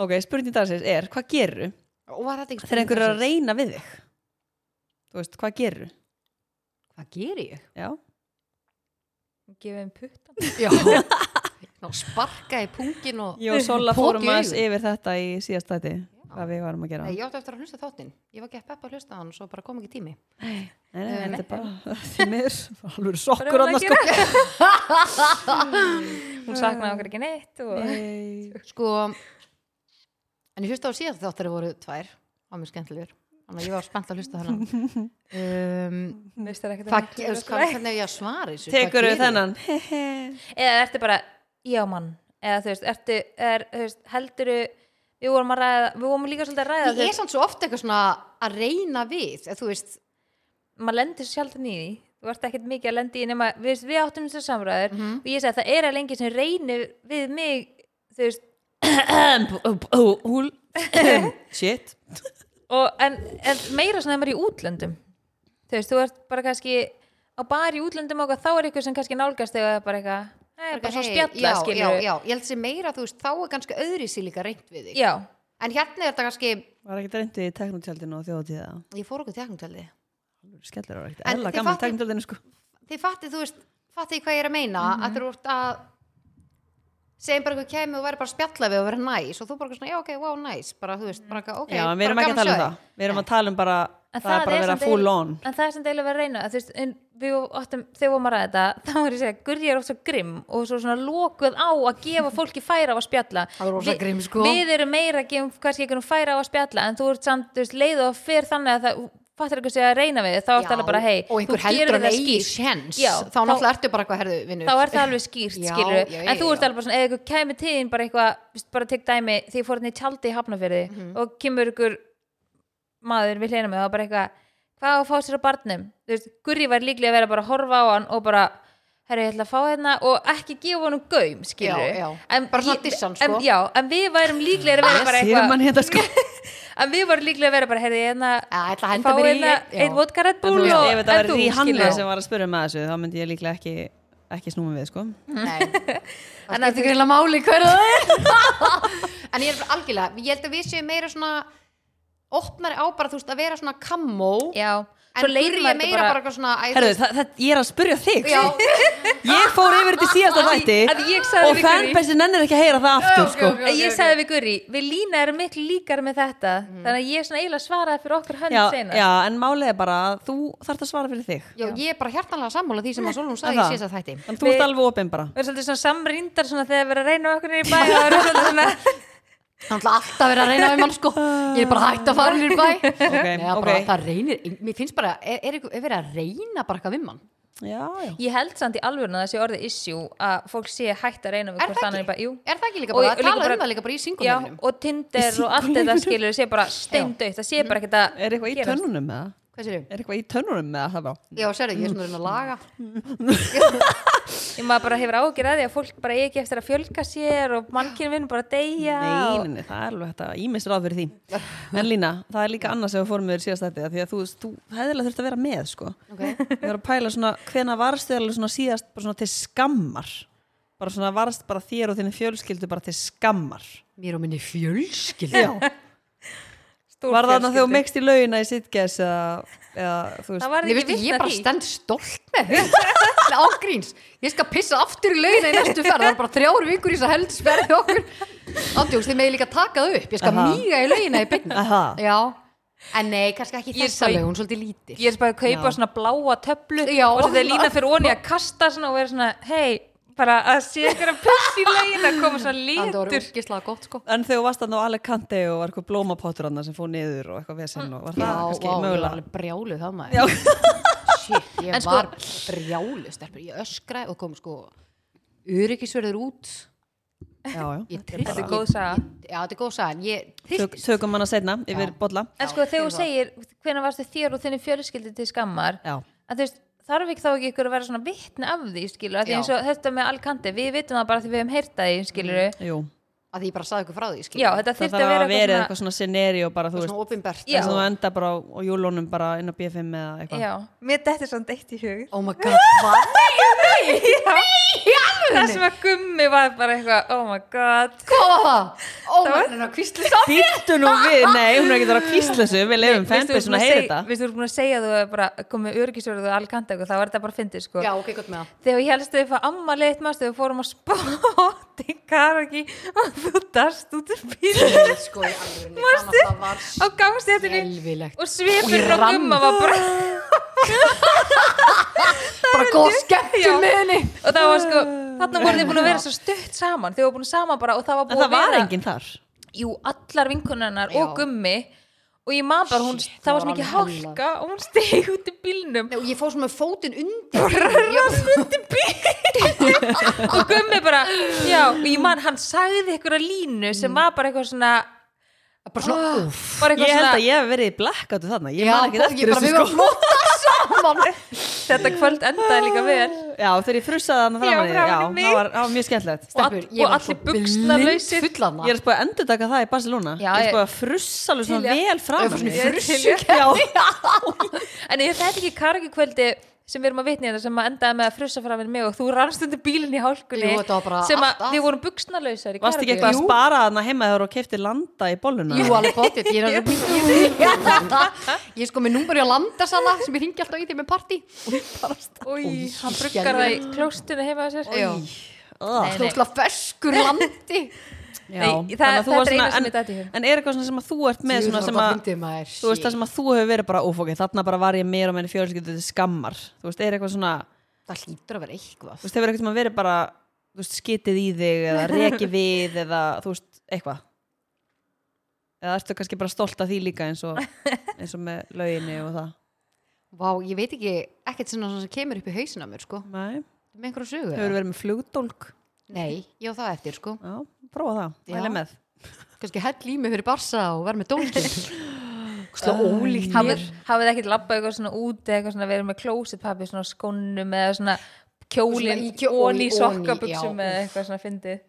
Speaker 2: Ok, spurning dagsins er, hvað gerðu
Speaker 3: Og var þetta ekki
Speaker 2: þegar einhver er að reyna við þig? Þú veist, hvað gerðu?
Speaker 3: Hvað gerir ég?
Speaker 2: Já,
Speaker 1: Gefum puttan
Speaker 3: Já Ná, sparka í pungin og
Speaker 2: Jó, Sola
Speaker 3: Poki
Speaker 2: fórum
Speaker 3: í
Speaker 2: aðeins
Speaker 3: augun.
Speaker 2: yfir þetta í síðast þætti hvað við varum að gera
Speaker 3: Nei,
Speaker 2: Nei,
Speaker 3: ég átti eftir að hlusta þáttinn Ég var ekki að peppa að hlusta á hann og svo bara kom ekki tími
Speaker 2: nei, þetta er bara því miður, alveg sokkur
Speaker 1: Bara
Speaker 2: annars
Speaker 1: verður
Speaker 2: sko
Speaker 1: að Hún saknaði okkur ekki neitt og...
Speaker 2: Nei.
Speaker 3: Sko En ég hlusta á síðan þáttir voru tvær Það var mjög skemmtilegur Þannig að ég var spennt að hlusta á hann um,
Speaker 1: Veist þér ekkert um
Speaker 3: Hvað
Speaker 1: að-
Speaker 3: gerir, hvað, hvernig ég að svara þessu? Hvað
Speaker 2: Tekur
Speaker 3: geri
Speaker 2: við
Speaker 3: ég?
Speaker 2: þennan
Speaker 1: eða ertu bara já mann eða þú veist, ertu, er, þú veist helduru við vorum að ræða, við vorum líka svolítið að ræða þú
Speaker 3: Ég er
Speaker 1: veist,
Speaker 3: samt svo oft eitthvað svona að reyna við eða Þú veist,
Speaker 1: maður lendir svo sjaldan í því þú ert ekkert mikið að lendi í nema við, veist, við áttum þessu samræður
Speaker 3: Mhm.
Speaker 1: og ég segi það er að lengi sem reynir við mig þú veist,
Speaker 2: Húl Shit
Speaker 1: og, en, en meira svona þegar maður er í útlöndum þú veist, þú ert bara kannski á bar í útlöndum og eitthvað, þá er eitthvað sem kannski nálgast þegar bara eitthvað, það er bara svona
Speaker 3: hey,
Speaker 1: spjalla
Speaker 3: já, já,
Speaker 1: skilur
Speaker 3: já, ég held sér meira, þú veist, þá er kannski öðri sér líka reynt við þig
Speaker 1: já,
Speaker 3: En hérna er þetta kannski,
Speaker 2: Var ekki reyndið í teknotjaldinu og þjóðatíða
Speaker 3: ég fór okkur teknutveldi
Speaker 2: Skellir var ekkert,
Speaker 3: En
Speaker 2: erla
Speaker 3: þið
Speaker 2: gaman
Speaker 3: fattið-
Speaker 2: teknotjaldinu sko
Speaker 3: Þið fattið, þú veist, fattið hvað ég er að meina
Speaker 1: Mhm.
Speaker 3: að þú ert að segjum bara eitthvað kemi og væri bara að spjalla við og vera næs og þú bara eitthvað svona, já ok, wow, næs bara, þú veist, bara eitthvað, ok,
Speaker 2: Já, en við
Speaker 3: bara
Speaker 2: erum ekki að
Speaker 3: gaman
Speaker 2: tala um
Speaker 3: sögð.
Speaker 2: það Við erum að tala um bara,
Speaker 1: En
Speaker 2: það er bara að vera
Speaker 1: samt
Speaker 2: full
Speaker 1: eiginlega-
Speaker 2: on
Speaker 1: En það er sem deilu að vera að reyna þú veist, en við áttum, þegar við vorum að ræða þetta þá er ég að segja, Gurri er ofsa grimm og svo svona lokuð á að gefa fólki færa á að spjalla
Speaker 3: Það er rosa
Speaker 1: Vi-
Speaker 3: grimm, sko.
Speaker 1: Við erum meira að gefa kannski einhvern færa á að spjalla en þú ert samt, þú veist, leið og fyrr þannig að það fattar eitthvað sé að reyna við þig, þá er
Speaker 3: Já,
Speaker 1: það bara, hei,
Speaker 3: og einhver
Speaker 1: þú
Speaker 3: heldur
Speaker 1: gerir
Speaker 3: hann
Speaker 1: það
Speaker 3: eigi
Speaker 1: skýrt
Speaker 3: sjens
Speaker 1: Já,
Speaker 3: þá náttúrulega ertu bara eitthvað, herðu, vinnur
Speaker 1: þá er það alveg skýrt
Speaker 3: Já,
Speaker 1: skilur
Speaker 3: já, já,
Speaker 1: en þú ert
Speaker 3: já.
Speaker 1: alveg bara svona, eða eitthvað kæmi tíðin bara eitthvað, veist, bara tek dæmi því ég fór hérna í tjaldi í hafnafyrði
Speaker 3: Mhm.
Speaker 1: og kemur ykkur maður við hlýna mig og bara eitthvað, hvað á að fá sér á barnum þú veist, Gurri var líklega að vera bara að horfa á hann og bara, herru, ég ætla að fá hérna og ekki gefa honum gaum, skilur
Speaker 3: Já, já. Bara svona dissa hann, sko.
Speaker 1: en, já, en við værum líklega að vera bara
Speaker 2: Sér mann
Speaker 1: eitthvað
Speaker 2: hérna sko
Speaker 1: en við varum líklega að vera bara, herru, ég hérna
Speaker 3: Já, ég ætla að henda
Speaker 1: fá
Speaker 3: mér í
Speaker 1: hérna
Speaker 3: einn, já.
Speaker 1: einn vodka Red
Speaker 2: Þú
Speaker 1: Bull
Speaker 2: veist,
Speaker 1: og-
Speaker 2: ef þetta
Speaker 1: en
Speaker 2: verið
Speaker 1: þú,
Speaker 2: því
Speaker 1: skilurðu.
Speaker 2: handla sem var að spurja með þessu þá myndi ég líklega ekki, ekki snúma við sko
Speaker 3: Nei,
Speaker 1: Þannig
Speaker 3: það
Speaker 1: að
Speaker 3: skiptir greinlega máli hver það er En ég er bara algjörlega, ég held að við séum meira svona opnari á bara, þú veist, að vera svona kammó
Speaker 1: já,
Speaker 3: En
Speaker 1: svo
Speaker 3: svo
Speaker 1: leiðum
Speaker 3: ég meira bara eitthvað svona æ, þú
Speaker 2: Herðu,
Speaker 3: veist,
Speaker 2: það, það, ég er að spurja þig
Speaker 3: Já,
Speaker 2: Ég fór yfir þetta í síðasta
Speaker 1: að ég
Speaker 2: þætti
Speaker 1: sagði
Speaker 2: og
Speaker 1: við Gurrí.
Speaker 2: fanbase nennir ekki að heyra það aftur
Speaker 3: ok,
Speaker 2: sko.
Speaker 3: ok.
Speaker 1: En ég sagði við Guri, við Lína erum miklu líkar með þetta
Speaker 3: Mm.
Speaker 1: þannig að ég svona eiginlega svaraði fyrir okkur hönd
Speaker 2: já,
Speaker 1: sena
Speaker 2: já, en málið er bara að þú þarft að svara fyrir þig
Speaker 3: já, ég er bara hjartanlega sammála því sem að Solon sagði
Speaker 2: Er
Speaker 3: í
Speaker 2: það?
Speaker 3: síðast að þætti
Speaker 2: Þannig að þú ert alveg opinn bara
Speaker 1: Við erum svolítið svona samrýndar svona þegar við erum að reyna okkur niður í bæ og við erum svolítið svona
Speaker 3: Það er náttúrulega alltaf verið að reyna við mann sko Ég er bara hægt að fara nýr bæ
Speaker 2: Ok,
Speaker 3: Nei, það
Speaker 2: ok.
Speaker 3: bara, það reynir, mér finnst bara er, er, ykkur- er verið að reyna bara eitthvað um við mann
Speaker 2: Já, já
Speaker 1: Ég held samt í alvörun að þessi orðið issue að fólk sé hægt að reyna við
Speaker 3: Er
Speaker 1: hvort
Speaker 3: það
Speaker 1: þannig
Speaker 3: ekki?
Speaker 1: bara, jú
Speaker 3: Er það ekki líka
Speaker 1: Og-
Speaker 3: bara,
Speaker 1: og
Speaker 3: að
Speaker 1: líka
Speaker 3: tala
Speaker 1: bara-
Speaker 3: um það líka bara í
Speaker 1: Já,
Speaker 3: singuleginum
Speaker 1: og Tinder og allt þetta skilur sé bara steindautt, það sé bara ekkert að
Speaker 2: Er eitthvað í
Speaker 1: gerast.
Speaker 2: tönnunum með það?
Speaker 3: Hvað sér
Speaker 2: Er eitthvað í tönnunum með það?
Speaker 3: Já, sérðu, ég er svona að reyna að laga
Speaker 1: ég maður bara hefur ágjur að því að fólk bara eigi ekki eftir að fjölga sér og mannkinn vinn bara að deyja
Speaker 2: Nei,
Speaker 1: og...
Speaker 2: nei, nei, það er alveg hægt að ímest ráð fyrir því En Lína, það er líka annars ef við fórum við síðast þetta Því að þú, veist, þú hefðilega þurft að vera með sko.
Speaker 3: ok,
Speaker 2: Ég var að pæla svona, hvena varst þið alveg svona síðast bara svona til skammar Bara svona varst bara þér og þinni fjölskyldu bara til skammar
Speaker 3: mér og minni fjölskyld já,
Speaker 1: Stór
Speaker 2: Var það þannig að
Speaker 1: fjölskyldu.
Speaker 2: þú mikst í laugina í sitges eða, eða þú veist
Speaker 1: það var
Speaker 3: Nei,
Speaker 1: ekki
Speaker 3: veistu, ég
Speaker 1: vitna
Speaker 3: bara
Speaker 1: því
Speaker 3: stend stolt með þau ángríns, ég skal pissa aftur í laugina í næstu ferð, það er bara þrjár vikur í þess að held sverði okkur ándjóks, þið meði líka taka það upp, ég skal
Speaker 2: Aha.
Speaker 3: mýga í laugina í byrnu
Speaker 2: Aha,
Speaker 3: já, en nei, kannski ekki
Speaker 1: Ég
Speaker 3: þessa
Speaker 1: sko-
Speaker 3: laug, hún er svolítið lítil
Speaker 1: ég er bara að kaupa
Speaker 2: Já.
Speaker 1: svona bláa töflu
Speaker 3: Já.
Speaker 1: og svo þeir lína fyrir onni að kasta svona og vera svona, hei, bara að sé ykkur að puss í legin að koma svona
Speaker 3: það var
Speaker 1: lítur
Speaker 3: úrgislega gott sko
Speaker 2: en þegar þú varst þannig á Alicante og var eitthvað blómapottur annað sem fór niður og eitthvað vesinn og var
Speaker 3: já,
Speaker 2: það
Speaker 3: vá,
Speaker 2: kannski
Speaker 3: ég var
Speaker 2: mögulega
Speaker 3: alveg brjálu það maður
Speaker 2: Já.
Speaker 3: shit, ég
Speaker 1: En sko-
Speaker 3: var brjálu stelpur, ég öskraði og kom sko öryggisverður út
Speaker 2: Já, já.
Speaker 3: ég trillti
Speaker 1: Þetta er góð saga.
Speaker 3: já, þetta er góð saga,
Speaker 2: Tök,
Speaker 3: ég trillti
Speaker 2: tökum hana setna yfir
Speaker 3: Já.
Speaker 2: bolla
Speaker 1: en sko þegar þú
Speaker 3: Já,
Speaker 1: segir, hvenær varstu þér og þinni fjölskyldi til skammar
Speaker 2: Já,
Speaker 1: að þú veist, þarf ekki þá ekki ykkur að vera svona vittni af því, skilur, að því
Speaker 3: Já.
Speaker 1: eins og þetta með Alcante, við vitum það bara því við hefum heyrta því, skilur
Speaker 2: jú
Speaker 3: að ég bara saði ykkur frá því skilur.
Speaker 1: já, þetta
Speaker 2: Mm. það
Speaker 1: þurfti að
Speaker 2: þarf að
Speaker 1: vera
Speaker 2: vera eitthvað svona scenario bara, þú
Speaker 3: Það er
Speaker 2: veist,
Speaker 3: svona opinbert
Speaker 1: Já.
Speaker 2: þess að þú enda bara á, á jólunum bara inn á BFM eða eitthvað
Speaker 1: já, mér dettir svona deitt í hug
Speaker 3: oh my god, hvað?
Speaker 1: það sem að gummi var bara eitthvað, oh my god
Speaker 3: hvað var það? oh my god, kvistli
Speaker 2: Býttu nú við, nei, hún er ekki það að kvísla þessu við lefum fanbase að heyra þetta
Speaker 1: Við þú erum búin að segja að þú hefur bara komið örgisverðu og alkanta eitthvað, þá var þetta bara fyndið sko.
Speaker 3: já, ok, gott með það
Speaker 1: Þegar ég helst að við fá ammalið eitt mást, þegar við fórum á spott í karaki og þú darst út úr bílum
Speaker 3: Ég, sko, í alvörunni, þannig að það var
Speaker 1: á gangstéttinni
Speaker 3: skelvilegt
Speaker 1: og svipurinn
Speaker 3: Og ég
Speaker 1: og
Speaker 3: rann.
Speaker 1: gumma var bara
Speaker 3: bara góð skemmtum með henni
Speaker 1: og það var sko, þarna voru þið búin að vera svo stutt saman, þið voru búin saman bara og það var
Speaker 2: En
Speaker 1: búin
Speaker 2: það
Speaker 1: að
Speaker 2: var
Speaker 1: vera
Speaker 2: enginn þar
Speaker 1: jú, allar vinkunarnar og
Speaker 3: Já.
Speaker 1: gummi og ég man bara, hún,
Speaker 3: Shit,
Speaker 1: það var svo
Speaker 3: það var
Speaker 1: mikið
Speaker 3: alveg hella.
Speaker 1: hálka og hún steg út í bílnum
Speaker 3: Nei, og ég fór svona með fótinn undir ég,
Speaker 1: og gummi bara, já, og ég man hann sagði einhverja línu sem var bara eitthvað svona
Speaker 3: bara svona úff
Speaker 1: bara
Speaker 2: Ég
Speaker 1: eitthvað
Speaker 2: held
Speaker 1: svona,
Speaker 2: að ég hef verið í blackoutu þarna Ég
Speaker 3: Já,
Speaker 2: man ekki
Speaker 3: bara- ég
Speaker 2: eftir
Speaker 3: bara, við
Speaker 2: þessu
Speaker 3: varum
Speaker 2: sko
Speaker 3: flottar saman
Speaker 1: þetta kvöld endaði líka vel
Speaker 2: Já, þegar ég frussaði
Speaker 1: Já,
Speaker 2: hana framan í þér,
Speaker 1: framan í
Speaker 2: já,
Speaker 1: mig.
Speaker 2: það var, það var mjög skemmtilegt
Speaker 1: all-
Speaker 3: Stelpur, ég
Speaker 1: og
Speaker 3: var
Speaker 1: allir
Speaker 3: svo
Speaker 1: buxnalausir.
Speaker 3: blind full þarna.
Speaker 2: Ég er spáð að endurtaka það í Barcelona
Speaker 1: Já,
Speaker 2: Ég
Speaker 1: ég-
Speaker 2: er spáð að frussa alveg
Speaker 1: Til
Speaker 2: svona
Speaker 1: ég-
Speaker 2: vel
Speaker 3: Ég
Speaker 2: framan
Speaker 3: fór
Speaker 2: í
Speaker 3: svona
Speaker 2: þér.
Speaker 3: frussukeppni.
Speaker 2: Já,
Speaker 1: en ég þetta ekki kargi kvöldi sem við erum að vitni þetta sem að endaði með að frussa fram með mig og þú rannst undir bílinn í hálkunni
Speaker 3: Jú, þetta var bara
Speaker 1: sem að
Speaker 3: allt að.
Speaker 1: við vorum buksnalausar í
Speaker 2: Varstu ekki eitthvað að spara þarna heima þegar þú kefti landa í bolluna?
Speaker 3: Jú, alveg bóttið, ég er alveg Ég er sko með númur í að landa sala sem ég ringi alltaf í því með partí
Speaker 1: Új, hann bruggar það í klóstunni heima að sér
Speaker 3: Já.
Speaker 2: Ugh.
Speaker 1: Nei, nei.
Speaker 3: Slókslega ferskur landi
Speaker 2: Já,
Speaker 1: Nei,
Speaker 2: þannig
Speaker 1: það-
Speaker 2: að þú
Speaker 1: þetta
Speaker 2: varst
Speaker 1: er eina
Speaker 2: svona-
Speaker 1: sem
Speaker 2: en-
Speaker 1: ég datt í hug.
Speaker 2: En er eitthvað svona sem að þú ert með svona sem að þú veist það sem að þú hefur verið bara ófókið þarna bara var ég meira og meira fjölskyldu til skammar þú veist, er eitthvað svona þú
Speaker 3: Það hlýtur að vera eitthvað
Speaker 2: veist, hefur eitthvað sem að verið bara þú veist, skitið í þig eða reki við eða þú veist, eitthvað eða ertu kannski bara stolt af því líka eins og, eins og með lauginni og það
Speaker 3: Vá, ég veit ekki, ekkert svona sem kemur upp í hausina mér sko
Speaker 2: Nei,
Speaker 3: Með einhverju sögu
Speaker 2: hefur verið með flugdólk
Speaker 3: Nei, ég á það eftir sko
Speaker 2: Já, prófa það,
Speaker 3: Já.
Speaker 2: mæli með
Speaker 3: Kannski hell í mig fyrir barsa og verð með dólkin Slá ólíkt mér
Speaker 1: hafið hafið ekkert labbað eitthvað svona út eða eitthvað svona verið með klósitpappi svona á skónum eða svona kjólin
Speaker 3: Svona í
Speaker 1: ón
Speaker 3: kjó-
Speaker 1: í
Speaker 3: ofan í-
Speaker 1: sokkabuxum
Speaker 3: já,
Speaker 1: eða
Speaker 3: úff.
Speaker 1: eitthvað svona fyndið